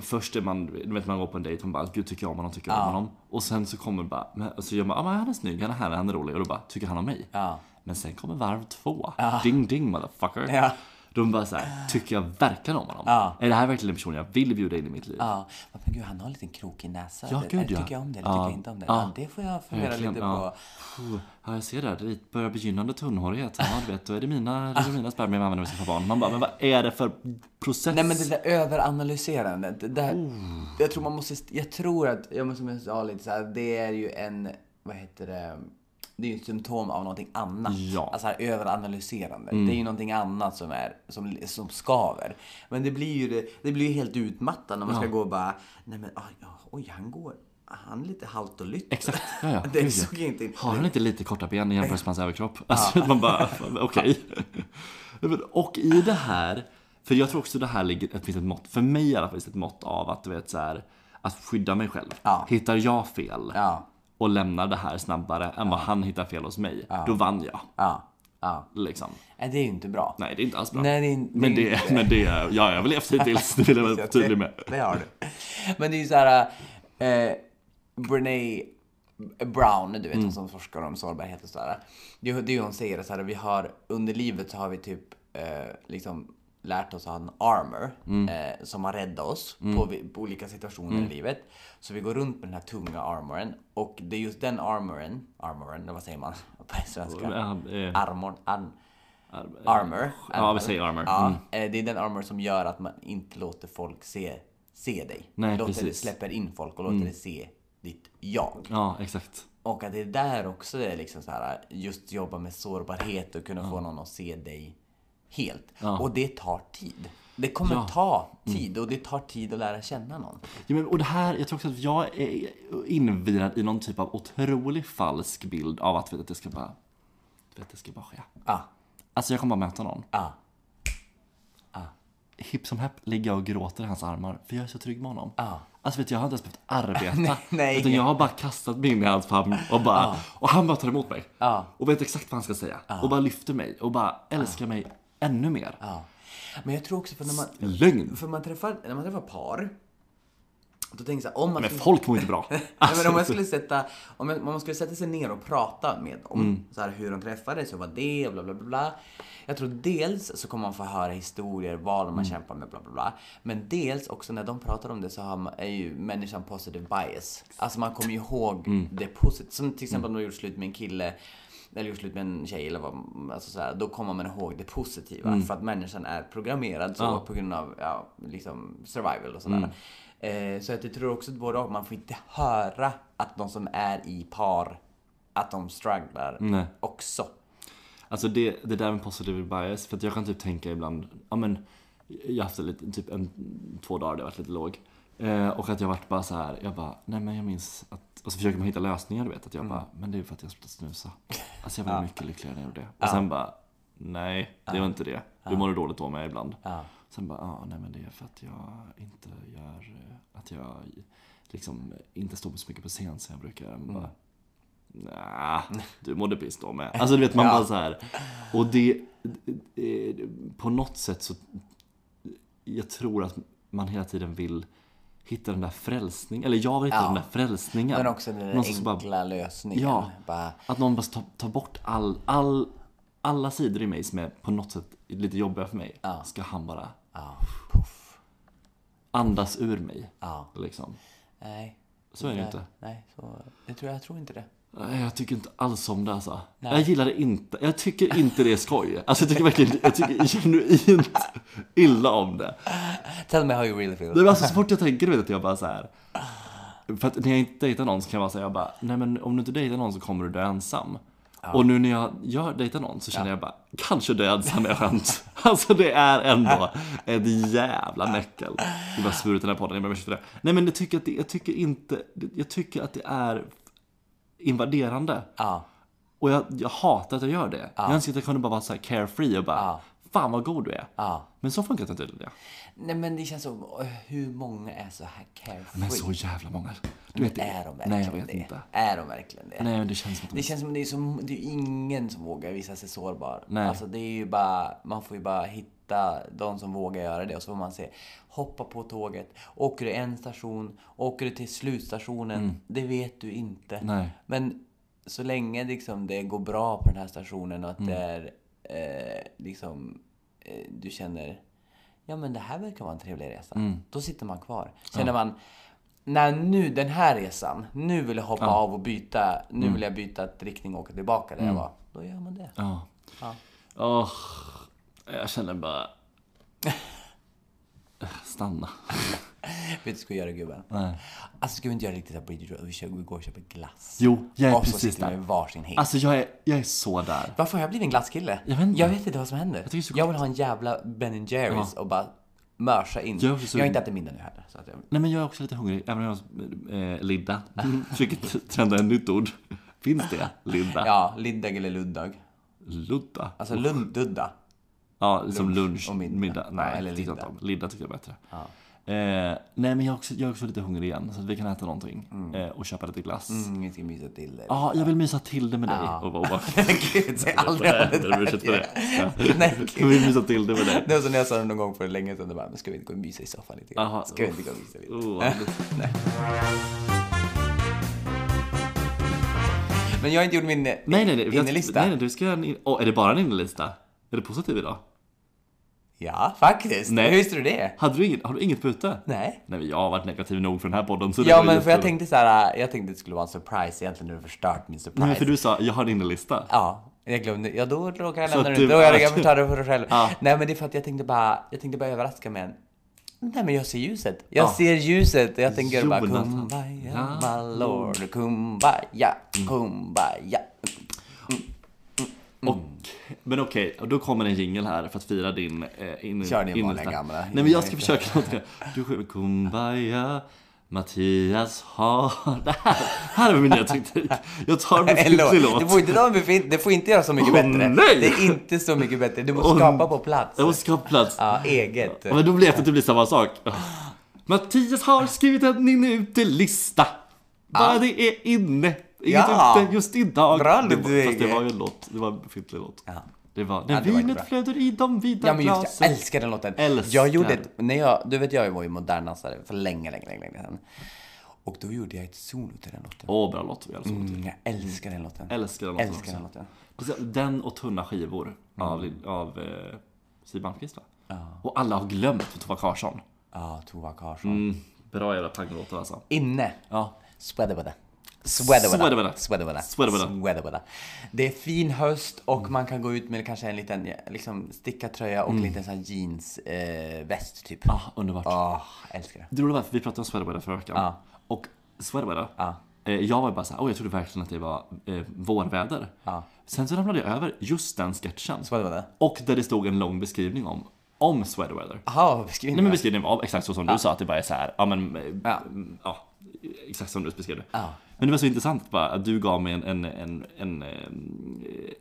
[SPEAKER 2] Först är man, du vet man går på en dejt och man bara gud tycker jag om honom, tycker jag om honom. Och sen så kommer bara, men, och så gör man, ah, men han är snygg, han är härlig, han är rolig. Och då bara, tycker han om mig?
[SPEAKER 1] Ja.
[SPEAKER 2] Men sen kommer varv två. Ding ding motherfucker.
[SPEAKER 1] Ja.
[SPEAKER 2] De bara så här, tycker jag verkligen om honom?
[SPEAKER 1] Ja.
[SPEAKER 2] Är det här verkligen en person jag vill bjuda in i mitt liv?
[SPEAKER 1] Ja, men gud han har en liten krokig näsa.
[SPEAKER 2] Ja,
[SPEAKER 1] Det-
[SPEAKER 2] gud, ja.
[SPEAKER 1] Tycker jag om det eller
[SPEAKER 2] Ja.
[SPEAKER 1] tycker jag inte om det?
[SPEAKER 2] Ja.
[SPEAKER 1] Ja. det får jag fundera lite på.
[SPEAKER 2] ja. Puh, ja, jag ser det. här. Det börjar begynnande tunnhårighet. Ja, du vet, då är det mina, det är mina spermier man använder för sina barn. Man bara, men vad är det för process?
[SPEAKER 1] Nej men det där överanalyserandet. Det där, Jag tror man måste, jag tror att, ja, men som jag sa lite så här, det är ju en, vad heter det, det är ju ett symptom av någonting annat.
[SPEAKER 2] Ja. Mm.
[SPEAKER 1] Alltså här, överanalyserande. Det är ju någonting annat som, är, som, som skaver. Men det blir ju, det, det blir ju helt utmattande när man ska gå och bara, nej men aj, ja, oj han går, han är lite halt och lytt.
[SPEAKER 2] Exakt. Ja, ja.
[SPEAKER 1] det
[SPEAKER 2] Gud, ja.
[SPEAKER 1] såg inte in.
[SPEAKER 2] Har han inte lite korta ben i jämförelse med hans överkropp? Alltså, man bara, okej. Men- Och i det här För jag tror också det här ligger, att det finns ett mått, för mig i alla fall finns det ett mått av att du vet så här, att skydda mig själv.
[SPEAKER 1] Ja.
[SPEAKER 2] Hittar jag fel
[SPEAKER 1] Ja,
[SPEAKER 2] och lämnar det här snabbare än vad han hittar fel hos mig, då vann jag.
[SPEAKER 1] ja, ja.
[SPEAKER 2] Liksom.
[SPEAKER 1] Nej, det är ju inte bra.
[SPEAKER 2] Nej, det är inte alls bra.
[SPEAKER 1] Nej, det är inte-
[SPEAKER 2] men,
[SPEAKER 1] det är
[SPEAKER 2] det, men det, ja, jag har överlevt hittills, det vill jag vara tydlig med.
[SPEAKER 1] Det har du. Men det är ju så här, eh, Brene Brown, du vet
[SPEAKER 2] Mm.
[SPEAKER 1] hon som forskar om sårbarhet och sådär. Det är ju det är ju hon säger, så här, vi har, under livet så har vi typ eh, liksom lärt oss att ha en armor
[SPEAKER 2] Mm.
[SPEAKER 1] eh, som har räddat oss på, vi- på olika situationer i livet. Så vi går runt med den här tunga armoren och det är just den armoren, armoren, vad säger man på svenska?
[SPEAKER 2] Ja, eh,
[SPEAKER 1] Armorn, arm, armor.
[SPEAKER 2] Ja, vi säger armor.
[SPEAKER 1] Ja, eh, det är den armor som gör att man inte låter folk se, se dig.
[SPEAKER 2] Nej,
[SPEAKER 1] låter,
[SPEAKER 2] precis. Mm.
[SPEAKER 1] Släpper in folk och låter dig se ditt jag.
[SPEAKER 2] Ja, exakt.
[SPEAKER 1] Och att det är där också är liksom så här, just jobba med sårbarhet och kunna få någon att se dig helt. Och det tar tid. Det kommer ta
[SPEAKER 2] Mm.
[SPEAKER 1] tid och det tar tid att lära känna någon.
[SPEAKER 2] Ja, men, och det här, jag tror också att jag är invirad i någon typ av otrolig falsk bild av att, vet, att det ska bara, vet, det ska bara ske.
[SPEAKER 1] Ah,
[SPEAKER 2] Alltså jag kommer bara möta någon.
[SPEAKER 1] ah,
[SPEAKER 2] Hipp som häpp ligger jag och gråter i hans armar, för jag är så trygg med honom.
[SPEAKER 1] Ja.
[SPEAKER 2] Alltså vet du, jag har inte ens behövt arbeta.
[SPEAKER 1] nej.
[SPEAKER 2] Utan jag har bara kastat mig in i hans famn och bara, och han bara tar emot mig.
[SPEAKER 1] Ja.
[SPEAKER 2] Och vet exakt vad han ska säga. Och bara lyfter mig och bara älskar mig ännu mer.
[SPEAKER 1] ah. Men jag tror också för när man,
[SPEAKER 2] Lögn!
[SPEAKER 1] för man, träffar, när man träffar par, då tänker jag så här, om man
[SPEAKER 2] Men
[SPEAKER 1] skulle-
[SPEAKER 2] folk mår inte bra.
[SPEAKER 1] Nej, men om man skulle sätta, om man, om man skulle sätta sig ner och prata med dem, så här hur de träffades och vad det och bla bla bla bla. Jag tror dels så kommer man få höra historier, vad de har kämpat med bla bla bla. Men dels också när de pratar om det så har man, är ju människan positive bias. Alltså man kommer ju ihåg det positiva. Som till exempel om du gjort slut med en kille eller gjort slut med en tjej eller vad, alltså så här, då kommer man ihåg det positiva.
[SPEAKER 2] Mm.
[SPEAKER 1] För att människan är programmerad så på grund av ja, liksom survival och sådär.
[SPEAKER 2] Mm.
[SPEAKER 1] Eh, så att jag tror också att både och, man får inte höra att de som är i par, att de strugglar
[SPEAKER 2] Nej.
[SPEAKER 1] också.
[SPEAKER 2] Alltså det, det där med positive bias, för att jag kan typ tänka ibland, ja men jag har haft det lite, typ en, två dagar där jag varit lite låg. Eh, och att jag varit bara så här, jag bara, nej men jag minns att, och så försöker man hitta lösningar du vet, att jag bara, men det är för att jag slutade snusa. Alltså jag var mycket lyckligare när jag gjorde det. Och sen bara, nej det var inte det. Du mådde dåligt då med ibland.
[SPEAKER 1] Ja.
[SPEAKER 2] Sen bara, ja nej men det är för att jag inte gör, eh, att jag liksom inte står så mycket på scen som jag brukar. Man bara, Nja, du mådde piss då med. Alltså du vet man bara så här. Och det, eh, på något sätt så, jag tror att man hela tiden vill hitta den där frälsningen, eller jag vill hitta
[SPEAKER 1] Ja.
[SPEAKER 2] den där frälsningen.
[SPEAKER 1] Men också den där
[SPEAKER 2] Någon som
[SPEAKER 1] enkla
[SPEAKER 2] bara,
[SPEAKER 1] lösningen.
[SPEAKER 2] Ja.
[SPEAKER 1] Bara,
[SPEAKER 2] att någon bara tar, tar bort all, all, alla sidor i mig som är på något sätt lite jobbiga för mig. Ska han bara
[SPEAKER 1] ja, puff.
[SPEAKER 2] andas ur mig.
[SPEAKER 1] Ja.
[SPEAKER 2] Liksom.
[SPEAKER 1] Nej.
[SPEAKER 2] Så är det ju inte.
[SPEAKER 1] Nej, så, jag, tror, jag tror inte det.
[SPEAKER 2] Nej, jag tycker inte alls om det alltså. Jag gillar det inte. Jag tycker inte det är skoj. Alltså jag tycker verkligen, jag tycker genuint illa om det.
[SPEAKER 1] Tell me how you really feel.
[SPEAKER 2] Nej, men alltså så fort jag tänker du vet att jag bara så här. För att när jag inte dejtar någon så kan jag bara säga jag bara, nej men om du inte dejtar någon så kommer du dö ensam. Och nu när jag gör dejtar någon så känner jag bara, kanske dö ensam är skönt. alltså det är ändå ett jävla mäckel. Det är bara svurit den här podden, jag ber om ursäkt för det. Nej men jag tycker att det, jag tycker inte, jag tycker att det är invaderande.
[SPEAKER 1] Ja.
[SPEAKER 2] Och jag, jag hatar att jag gör det. Jag önskar att jag kunde bara vara så här carefree och bara, fan vad god du är.
[SPEAKER 1] Ja.
[SPEAKER 2] Men så funkar det tydligen.
[SPEAKER 1] Nej men det känns som, åh, hur många är så här carefree?
[SPEAKER 2] Men så jävla många. Du vet det.
[SPEAKER 1] är de verkligen
[SPEAKER 2] Nej, jag vet
[SPEAKER 1] det?
[SPEAKER 2] inte.
[SPEAKER 1] Är de verkligen det?
[SPEAKER 2] Nej, men det känns som att de...
[SPEAKER 1] Det känns som det är, så, det är ju ingen som vågar visa sig sårbar.
[SPEAKER 2] Nej.
[SPEAKER 1] Alltså det är ju bara, man får ju bara hitta de som vågar göra det och så får man se. Hoppa på tåget, åker du en station, åker du till slutstationen, det vet du inte.
[SPEAKER 2] Mm. Nej.
[SPEAKER 1] Men så länge liksom det går bra på den här stationen och att
[SPEAKER 2] Mm.
[SPEAKER 1] det är eh, liksom, eh, du känner Ja men det här verkar vara en trevlig resa.
[SPEAKER 2] Mm.
[SPEAKER 1] Då sitter man kvar. Känner man, när nu den här resan, nu vill jag hoppa av och byta, nu
[SPEAKER 2] Mm.
[SPEAKER 1] vill jag byta ett riktning och åka tillbaka där jag var. Då gör man det.
[SPEAKER 2] Ja.
[SPEAKER 1] Ja.
[SPEAKER 2] Åh, jag känner bara... Stanna.
[SPEAKER 1] Vet du vad vi ska göra gubben?
[SPEAKER 2] Nej.
[SPEAKER 1] Alltså ska vi inte göra riktigt såhär Bridge Road? Vi, kör, vi går och köper glass.
[SPEAKER 2] Jo, jag är
[SPEAKER 1] och så
[SPEAKER 2] precis
[SPEAKER 1] sitter vi
[SPEAKER 2] där.
[SPEAKER 1] med varsin hink.
[SPEAKER 2] Alltså jag är, jag är så där.
[SPEAKER 1] Varför har jag blivit en glasskille?
[SPEAKER 2] Jag vet inte.
[SPEAKER 1] vad som händer.
[SPEAKER 2] tycker det är så
[SPEAKER 1] Jag, vill ha en jävla Ben Jerrys och bara mörsa in.
[SPEAKER 2] Jag
[SPEAKER 1] Jag,
[SPEAKER 2] är också
[SPEAKER 1] har
[SPEAKER 2] sugen.
[SPEAKER 1] inte ätit middag nu heller. Så att jag...
[SPEAKER 2] Nej men jag är också lite hungrig, även om jag eh, Lidda. Försöker trenda ett nytt ord. Finns det? Lidda?
[SPEAKER 1] Ja, Lindag eller Luddag.
[SPEAKER 2] Ludda?
[SPEAKER 1] Alltså Lund, Dudda.
[SPEAKER 2] Ja, som lunch,
[SPEAKER 1] och middag.
[SPEAKER 2] middag. Nej,
[SPEAKER 1] Ja, eller
[SPEAKER 2] tyckte jag
[SPEAKER 1] middag.
[SPEAKER 2] inte om. Lidda tyckte jag var bättre. Eh, nej men jag är, också, jag är också lite hungrig igen så att vi kan äta någonting eh, och köpa lite glass. Ja,
[SPEAKER 1] Mm, vi ska mysa till det.
[SPEAKER 2] jag vill mysa till det med dig. Och bara, och bara,
[SPEAKER 1] Gud, säg aldrig
[SPEAKER 2] Nej,
[SPEAKER 1] om det
[SPEAKER 2] jag ber om ursäkt för det.
[SPEAKER 1] där. Nej,
[SPEAKER 2] jag
[SPEAKER 1] gud.
[SPEAKER 2] vill mysa till det med dig.
[SPEAKER 1] Det var som när jag sa det någon gång för länge sedan, det bara, men ska vi inte gå och mysa i soffan lite?
[SPEAKER 2] Aha.
[SPEAKER 1] grann? Ska vi inte gå och mysa lite?
[SPEAKER 2] Oh, vad härligt.
[SPEAKER 1] Men jag har inte gjort min eh,
[SPEAKER 2] nej, nej, nej. vi har-
[SPEAKER 1] innelista.
[SPEAKER 2] Nej, nej, du ska göra en in... Åh, är det bara en innelista? Är du positiv idag?
[SPEAKER 1] Ja, faktiskt.
[SPEAKER 2] Nej.
[SPEAKER 1] Hur visste du det?
[SPEAKER 2] Hade du inget, har du inget på ute?
[SPEAKER 1] Nej.
[SPEAKER 2] Nej men jag har varit negativ nog för den här podden så det
[SPEAKER 1] Ja,
[SPEAKER 2] var ju
[SPEAKER 1] men för jag
[SPEAKER 2] jättebra.
[SPEAKER 1] tänkte så här, jag tänkte det skulle vara en surprise egentligen, nu har du förstört min surprise.
[SPEAKER 2] Nej, för du sa, jag har en innelista.
[SPEAKER 1] Ja, jag glömde. Ja, då råkade jag
[SPEAKER 2] Så
[SPEAKER 1] lämna
[SPEAKER 2] att
[SPEAKER 1] den
[SPEAKER 2] du-
[SPEAKER 1] ute. Då jag jag får ta det för dig själv.
[SPEAKER 2] Ja.
[SPEAKER 1] Nej, men det är för att jag tänkte bara, jag tänkte bara överraska med en. Nej, men jag ser ljuset. Jag
[SPEAKER 2] Ja.
[SPEAKER 1] ser ljuset. Jag tänker bara
[SPEAKER 2] Jonathan.
[SPEAKER 1] kumbaya,
[SPEAKER 2] Ja. Mm.
[SPEAKER 1] my lord, kumbaya, kumbaya. Mm.
[SPEAKER 2] Och, men okej, och då kommer en jingle här för att fira din eh, in,
[SPEAKER 1] Kör din vanliga
[SPEAKER 2] innersta.
[SPEAKER 1] gamla.
[SPEAKER 2] Nej men jag ska försöka något mer. Du sjunger Kumbaya Mattias har... Det här, här är min nya teknik. Jag tar min
[SPEAKER 1] Eller,
[SPEAKER 2] till
[SPEAKER 1] det,
[SPEAKER 2] låt.
[SPEAKER 1] får inte, de befin- det får inte göra så mycket
[SPEAKER 2] Åh,
[SPEAKER 1] bättre.
[SPEAKER 2] nej!
[SPEAKER 1] Det är inte så mycket bättre. Du måste
[SPEAKER 2] Åh,
[SPEAKER 1] skapa på plats.
[SPEAKER 2] Jag måste skapa plats.
[SPEAKER 1] Ja, eget.
[SPEAKER 2] Men då blir det att det blir samma sak. Mattias har skrivit en inne-ute-lista. Bara det är inne. Inget
[SPEAKER 1] Ja.
[SPEAKER 2] ute just idag.
[SPEAKER 1] Bra,
[SPEAKER 2] det var,
[SPEAKER 1] Ludvig.
[SPEAKER 2] fast det var ju en låt. Det var en befintlig låt.
[SPEAKER 1] Ja.
[SPEAKER 2] Det var när
[SPEAKER 1] det var inte
[SPEAKER 2] vinet
[SPEAKER 1] bra.
[SPEAKER 2] flödar i de vida
[SPEAKER 1] Ja men just det, jag
[SPEAKER 2] glasen.
[SPEAKER 1] älskar den låten.
[SPEAKER 2] Älskar.
[SPEAKER 1] Jag gjorde ett, när jag, du vet jag var ju modern dansare för länge, länge, länge, länge sedan. Och då gjorde jag ett solo till den låten.
[SPEAKER 2] Åh, bra låt. Jag älskar den.
[SPEAKER 1] Mm, jag älskar den låten.
[SPEAKER 2] Älskar den låten
[SPEAKER 1] Älskar den Mm.
[SPEAKER 2] också.
[SPEAKER 1] låten.
[SPEAKER 2] Precis, Den och Tunna skivor av, Lin- av eh, Siw Malmkvist va? Och alla har glömt för Tova Karsson.
[SPEAKER 1] Ja, Tova Karsson.
[SPEAKER 2] Mm, bra jävla panglåtar alltså.
[SPEAKER 1] Inne.
[SPEAKER 2] Ja.
[SPEAKER 1] Sweatherweather. Sweatherweather.
[SPEAKER 2] Sweatherweather.
[SPEAKER 1] Sweatherweather.
[SPEAKER 2] Sweatherweather.
[SPEAKER 1] Sweatherweather. Det är fin höst och man kan gå ut med kanske en liten ja, liksom, stickad tröja och en liten sån här jeans, eh, väst typ.
[SPEAKER 2] Mm. Ah, underbart.
[SPEAKER 1] Åh, älskar det.
[SPEAKER 2] Du undrar varför vi pratade om Sweatweather förra veckan.
[SPEAKER 1] Ja.
[SPEAKER 2] Och Sweatweather,
[SPEAKER 1] Ja.
[SPEAKER 2] eh, jag var ju bara såhär, oj jag trodde verkligen att det var eh, vårväder.
[SPEAKER 1] Ja.
[SPEAKER 2] Sen så ramlade jag över just den sketchen.
[SPEAKER 1] Sweatherweather.
[SPEAKER 2] Och där det stod en lång beskrivning om, om Sweatweather.
[SPEAKER 1] Jaha, beskriv
[SPEAKER 2] Nej men
[SPEAKER 1] det.
[SPEAKER 2] beskrivningen var exakt så som du sa, att det bara är såhär, ja men, eh,
[SPEAKER 1] Ja.
[SPEAKER 2] mm, ja. Exakt som du beskrev det.
[SPEAKER 1] Ja.
[SPEAKER 2] Men det var så intressant bara att du gav mig en, en, en, en, eh,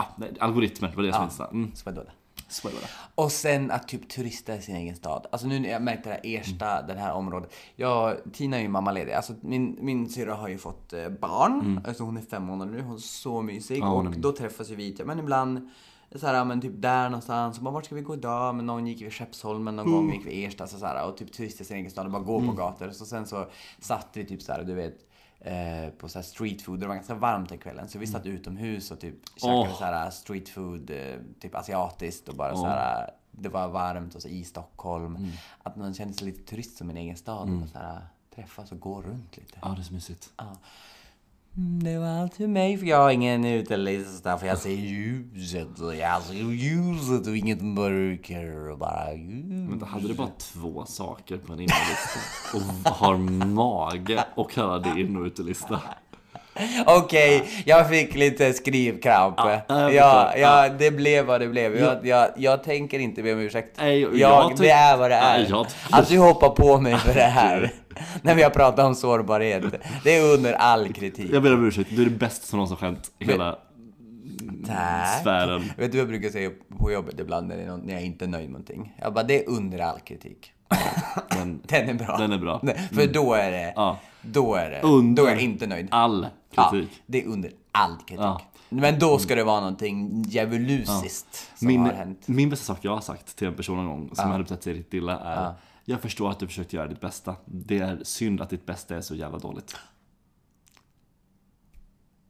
[SPEAKER 2] ah, nej, algoritmen, det var det som var intressant. Mm,
[SPEAKER 1] Sweatherweather.
[SPEAKER 2] Sweatweather.
[SPEAKER 1] Och sen att typ turista i sin egen stad. Alltså nu när jag märkte det här Ersta,
[SPEAKER 2] Mm.
[SPEAKER 1] det här området. Jag, Tina är ju mammaledig. Alltså min, min syrra har ju fått eh, barn. Alltså hon är fem månader nu. Hon är så mysig.
[SPEAKER 2] Mm. hon
[SPEAKER 1] och
[SPEAKER 2] är mysig.
[SPEAKER 1] då träffas ju vi typ, men ibland så här, ja, men typ där någonstans. Och bara, vart ska vi gå idag? Men någon gick vid Skeppsholmen, någon
[SPEAKER 2] Mm.
[SPEAKER 1] gång gick vi Ersta. Så, så här, och typ turista i sin egen stad och bara gå på gator. Så sen så satt vi typ så här, du vet. eh, På så här street food, det var ganska varmt den kvällen. Så vi satt utomhus och typ käkade
[SPEAKER 2] Mm. Åh.
[SPEAKER 1] så här street food, eh, typ asiatiskt och bara så här, det var varmt och så i Stockholm. Att man kände sig lite turist som en egen stad. Och så här, träffas och gå runt lite.
[SPEAKER 2] Ja, det är så mysigt.
[SPEAKER 1] Mm, Det var allt för mig för jag har ingen utelista för jag ser ljuset och jag ser ljuset och inget mörker och bara ljus.
[SPEAKER 2] Vänta, hade du bara två saker på en innerlista och har mage och kallar det in och utelista?
[SPEAKER 1] Okej, jag fick lite skrivkramp. Ja,
[SPEAKER 2] jag
[SPEAKER 1] ja,
[SPEAKER 2] förstår.
[SPEAKER 1] det blev vad det blev. Jag, jag, jag tänker inte be om ursäkt.
[SPEAKER 2] Nej, jag-
[SPEAKER 1] jag,
[SPEAKER 2] jag tyck-
[SPEAKER 1] det är vad det är.
[SPEAKER 2] Nej, jag tycker-
[SPEAKER 1] Att du hoppar på mig för det här. När vi har pratat om sårbarhet. Det är under all kritik.
[SPEAKER 2] Jag ber om ursäkt, du är det bästa som någonsin skämt i hela
[SPEAKER 1] Tack.
[SPEAKER 2] sfären.
[SPEAKER 1] Vet du vad jag brukar säga på jobbet ibland när, det är någon, när jag inte är nöjd med någonting? Jag bara, det är under all kritik.
[SPEAKER 2] Men
[SPEAKER 1] Den är bra.
[SPEAKER 2] Den är bra.
[SPEAKER 1] Nej, För då är det,
[SPEAKER 2] Ja.
[SPEAKER 1] då är det,
[SPEAKER 2] Under-
[SPEAKER 1] då är jag inte nöjd.
[SPEAKER 2] all
[SPEAKER 1] Ja,
[SPEAKER 2] kritik.
[SPEAKER 1] det är under all kritik.
[SPEAKER 2] Ja.
[SPEAKER 1] Men då ska det vara någonting djävulusiskt som har
[SPEAKER 2] Min,
[SPEAKER 1] hänt.
[SPEAKER 2] min bästa sak jag har sagt till en person någon gång som hade betett sig riktigt illa är Jag förstår att du försökte göra ditt bästa. Det är synd att ditt bästa är så jävla dåligt.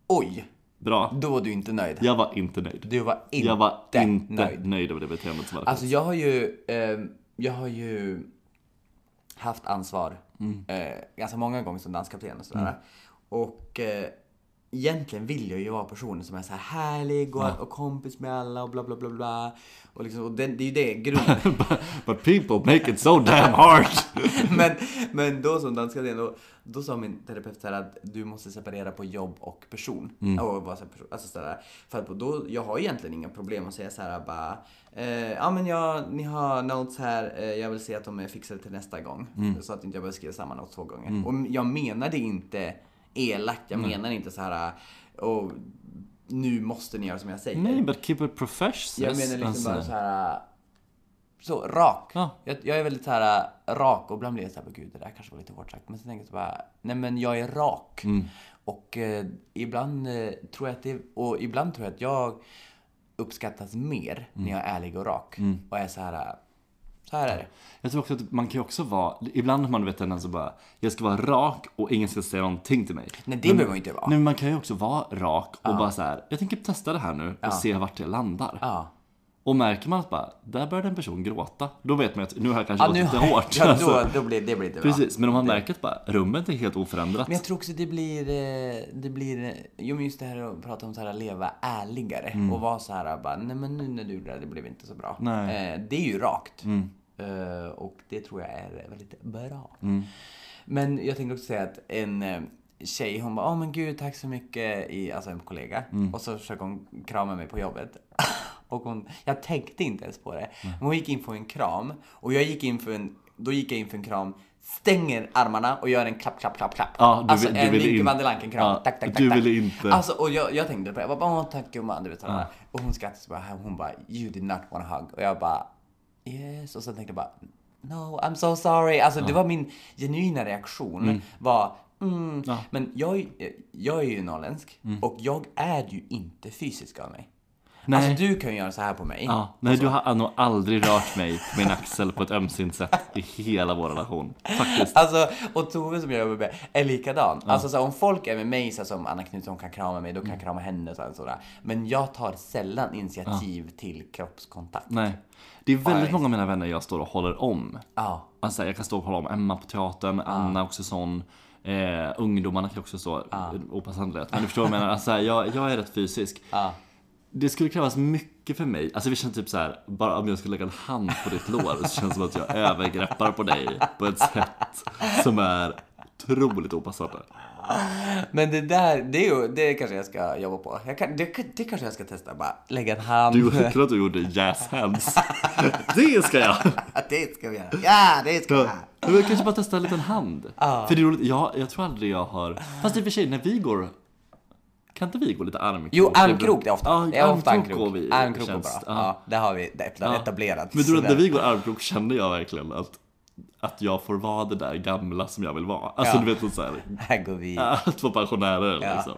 [SPEAKER 1] Oj,
[SPEAKER 2] Bra.
[SPEAKER 1] då var du inte nöjd.
[SPEAKER 2] Jag var inte nöjd.
[SPEAKER 1] Du var inte
[SPEAKER 2] Jag var inte nöjd,
[SPEAKER 1] nöjd.
[SPEAKER 2] över det beteendet som hade
[SPEAKER 1] Alltså jag har ju, ehm, jag har ju haft ansvar
[SPEAKER 2] Mm.
[SPEAKER 1] eh, ganska många gånger som danskapten och sådär. Och eh, egentligen vill jag ju vara personen som är så här härlig och, och kompis med alla och bla bla bla bla. Och, liksom, och det, det är ju det grunden.
[SPEAKER 2] But, but people make it so damn hard!
[SPEAKER 1] men, men då som danskapten, då, då sa min terapeut så här att du måste separera på jobb och person. Och vara så här, perso- alltså så här, för att då, jag har egentligen inga problem att säga så här bara, eh, ja men jag, ni har notes här, eh, jag vill se att de är fixade till nästa gång. Så att inte jag behöver skriva samma notes två gånger. Och jag menade inte elakt, jag menar inte så här, och nu måste ni göra som jag säger.
[SPEAKER 2] Nej, but keep it professional. alltså.
[SPEAKER 1] jag menar liksom bara så här. äh, Så rak.
[SPEAKER 2] Ja.
[SPEAKER 1] Jag, jag är väldigt så här äh, rak och ibland blir jag så här, "Åh, gud det där kanske var lite hårt sagt. Men sen tänker jag så bara, nej men jag är rak.
[SPEAKER 2] Mm.
[SPEAKER 1] Och eh, ibland eh, tror jag att det, och ibland tror jag att jag uppskattas mer
[SPEAKER 2] Mm.
[SPEAKER 1] när jag är ärlig och rak. Och är så här, äh, så här är det.
[SPEAKER 2] Jag tror också att man kan ju också vara, ibland har man vet tendens att bara, jag ska vara rak och ingen ska säga någonting till mig.
[SPEAKER 1] Nej, det behöver man inte vara.
[SPEAKER 2] Nej, men man kan ju också vara rak och bara så här, jag tänker testa det här nu och se vart det landar.
[SPEAKER 1] Ja.
[SPEAKER 2] Och märker man att bara, där började en person gråta, då vet man att nu har jag kanske
[SPEAKER 1] Ja,
[SPEAKER 2] gått
[SPEAKER 1] nu,
[SPEAKER 2] lite hårt.
[SPEAKER 1] ja,
[SPEAKER 2] alltså.
[SPEAKER 1] då, då blir det blir inte bra.
[SPEAKER 2] Precis, men om man märker att bara, rummet är helt oförändrat.
[SPEAKER 1] Men jag tror också det blir, eh, det blir, eh, jo men just det här att prata om så här leva ärligare och vara så här bara, nej men nu när du gjorde det, här, det blev inte så bra.
[SPEAKER 2] Nej.
[SPEAKER 1] Eh, Det är ju rakt. Eh, Och det tror jag är väldigt bra. Men jag tänkte också säga att en eh, tjej hon bara, åh men gud tack så mycket, i, alltså en kollega. Och så försöker hon krama mig på jobbet. Och hon, jag tänkte inte ens på det. Men hon gick in för en kram och jag gick in för en, då gick jag in för en kram, stänger armarna och gör en klapp, klapp, klapp, klapp.
[SPEAKER 2] Ja, du
[SPEAKER 1] alltså
[SPEAKER 2] vill- du
[SPEAKER 1] en
[SPEAKER 2] ville
[SPEAKER 1] Micke
[SPEAKER 2] in-
[SPEAKER 1] van der Lanken-kram.
[SPEAKER 2] Ja,
[SPEAKER 1] tack, tack, tack.
[SPEAKER 2] du
[SPEAKER 1] tack.
[SPEAKER 2] ville inte.
[SPEAKER 1] Alltså, och jag, jag tänkte på det. Jag bara, åh tack gumman. Du vet sådär. Och hon skrattade så bara, hon bara, you did not want a hug. Och jag bara, yes. Och sen tänkte jag bara, no, I'm so sorry. Alltså det var min genuina reaktion. Var, mm. Men jag, jag är ju norrländsk och jag är ju inte fysisk av mig.
[SPEAKER 2] Mm. Nej.
[SPEAKER 1] Alltså du kan ju göra så här på mig.
[SPEAKER 2] Ja, nej, du
[SPEAKER 1] Alltså-
[SPEAKER 2] har nog aldrig rört mig på min axel på ett ömsint sätt i hela vår relation. Faktiskt.
[SPEAKER 1] Alltså, och Tove som jag jobbar med är likadan. Alltså så här, om folk är med mig så här, som Anna Knutsson kan krama mig, då
[SPEAKER 2] Mm.
[SPEAKER 1] kan jag krama henne. Så här, sådär. Men jag tar sällan initiativ till kroppskontakt.
[SPEAKER 2] Nej. Det är väldigt
[SPEAKER 1] Nej.
[SPEAKER 2] många av mina vänner jag står och håller om.
[SPEAKER 1] Ja.
[SPEAKER 2] Alltså, jag kan stå och hålla om Emma på teatern, Anna också sån. Eh, ungdomarna kan också stå opassande rätt. Men du förstår vad jag menar. Alltså, jag, jag är rätt fysisk.
[SPEAKER 1] Ja.
[SPEAKER 2] Det skulle krävas mycket för mig. Alltså vi känner typ så här, bara om jag skulle lägga en hand på ditt lår så känns det som att jag övergreppar på dig på ett sätt som är otroligt opassande.
[SPEAKER 1] Men det där, det, är ju, det kanske jag ska jobba på. Jag kan, det, det kanske jag ska testa. Bara lägga en hand.
[SPEAKER 2] Du tror att du gjorde jazz hands. Det ska jag!
[SPEAKER 1] Det ska vi göra. Ja, det ska vi göra.
[SPEAKER 2] Men jag kanske bara testa en liten hand. För det är roligt, jag, jag tror aldrig jag har... Fast i och för sig, när vi går... Kan inte vi gå lite armkrok?
[SPEAKER 1] Jo, armkrok det är ofta.
[SPEAKER 2] Ja,
[SPEAKER 1] det är ofta
[SPEAKER 2] armkrok
[SPEAKER 1] armkrok.
[SPEAKER 2] går vi i,
[SPEAKER 1] Armkrok går
[SPEAKER 2] känns-
[SPEAKER 1] bra.
[SPEAKER 2] ja.
[SPEAKER 1] Ja. det har vi det är etablerat.
[SPEAKER 2] Men tror du att när vi går armkrok känner jag verkligen att, att jag får vara det där gamla som jag vill vara. Alltså
[SPEAKER 1] Ja.
[SPEAKER 2] du vet, så här,
[SPEAKER 1] Här går vi.
[SPEAKER 2] att vara pensionärer liksom.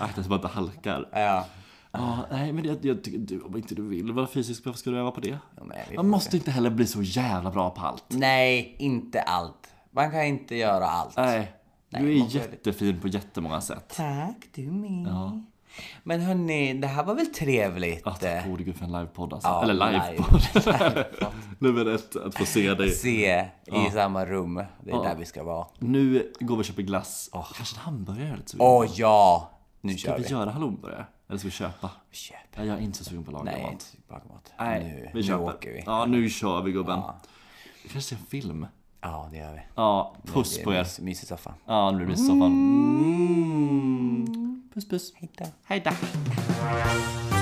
[SPEAKER 2] Akta så man inte halkar.
[SPEAKER 1] Ja.
[SPEAKER 2] Ja, nej men jag, jag tycker, du, om inte du vill vara fysisk, varför ska du öva på det?
[SPEAKER 1] Ja, men vi får
[SPEAKER 2] Man måste inte heller bli så jävla bra på allt.
[SPEAKER 1] Nej, inte allt. Man kan inte göra allt.
[SPEAKER 2] Nej, du
[SPEAKER 1] Nej,
[SPEAKER 2] är
[SPEAKER 1] man får-
[SPEAKER 2] jättefin på jättemånga sätt.
[SPEAKER 1] Tack, du med. Men hörni, det här var väl trevligt?
[SPEAKER 2] Att gode gud för en livepodd alltså.
[SPEAKER 1] Ja,
[SPEAKER 2] Eller livepodd. Nummer ett, att få se dig.
[SPEAKER 1] Se i samma rum. Det är där vi ska vara.
[SPEAKER 2] Nu går vi och köper glass. Kanske en hamburgare eller så.
[SPEAKER 1] Åh ja! Nu
[SPEAKER 2] Ska
[SPEAKER 1] kör
[SPEAKER 2] vi
[SPEAKER 1] vi.
[SPEAKER 2] göra hallonburgare? Eller ska vi köpa?
[SPEAKER 1] Köp.
[SPEAKER 2] Nej, Jag är inte så sugen på att laga
[SPEAKER 1] Nej,
[SPEAKER 2] mat.
[SPEAKER 1] inte bakom mat.
[SPEAKER 2] Nej,
[SPEAKER 1] Nu,
[SPEAKER 2] vi
[SPEAKER 1] nu
[SPEAKER 2] köper.
[SPEAKER 1] åker vi. Ja.
[SPEAKER 2] Ja, nu kör vi gubben. Vi kanske ser en film.
[SPEAKER 1] det gör vi.
[SPEAKER 2] Ja, puss på er.
[SPEAKER 1] Mys, mysig soffa.
[SPEAKER 2] Ja, nu blir det soffan. Mm. Puss puss.
[SPEAKER 1] Hej då.
[SPEAKER 2] Hej då.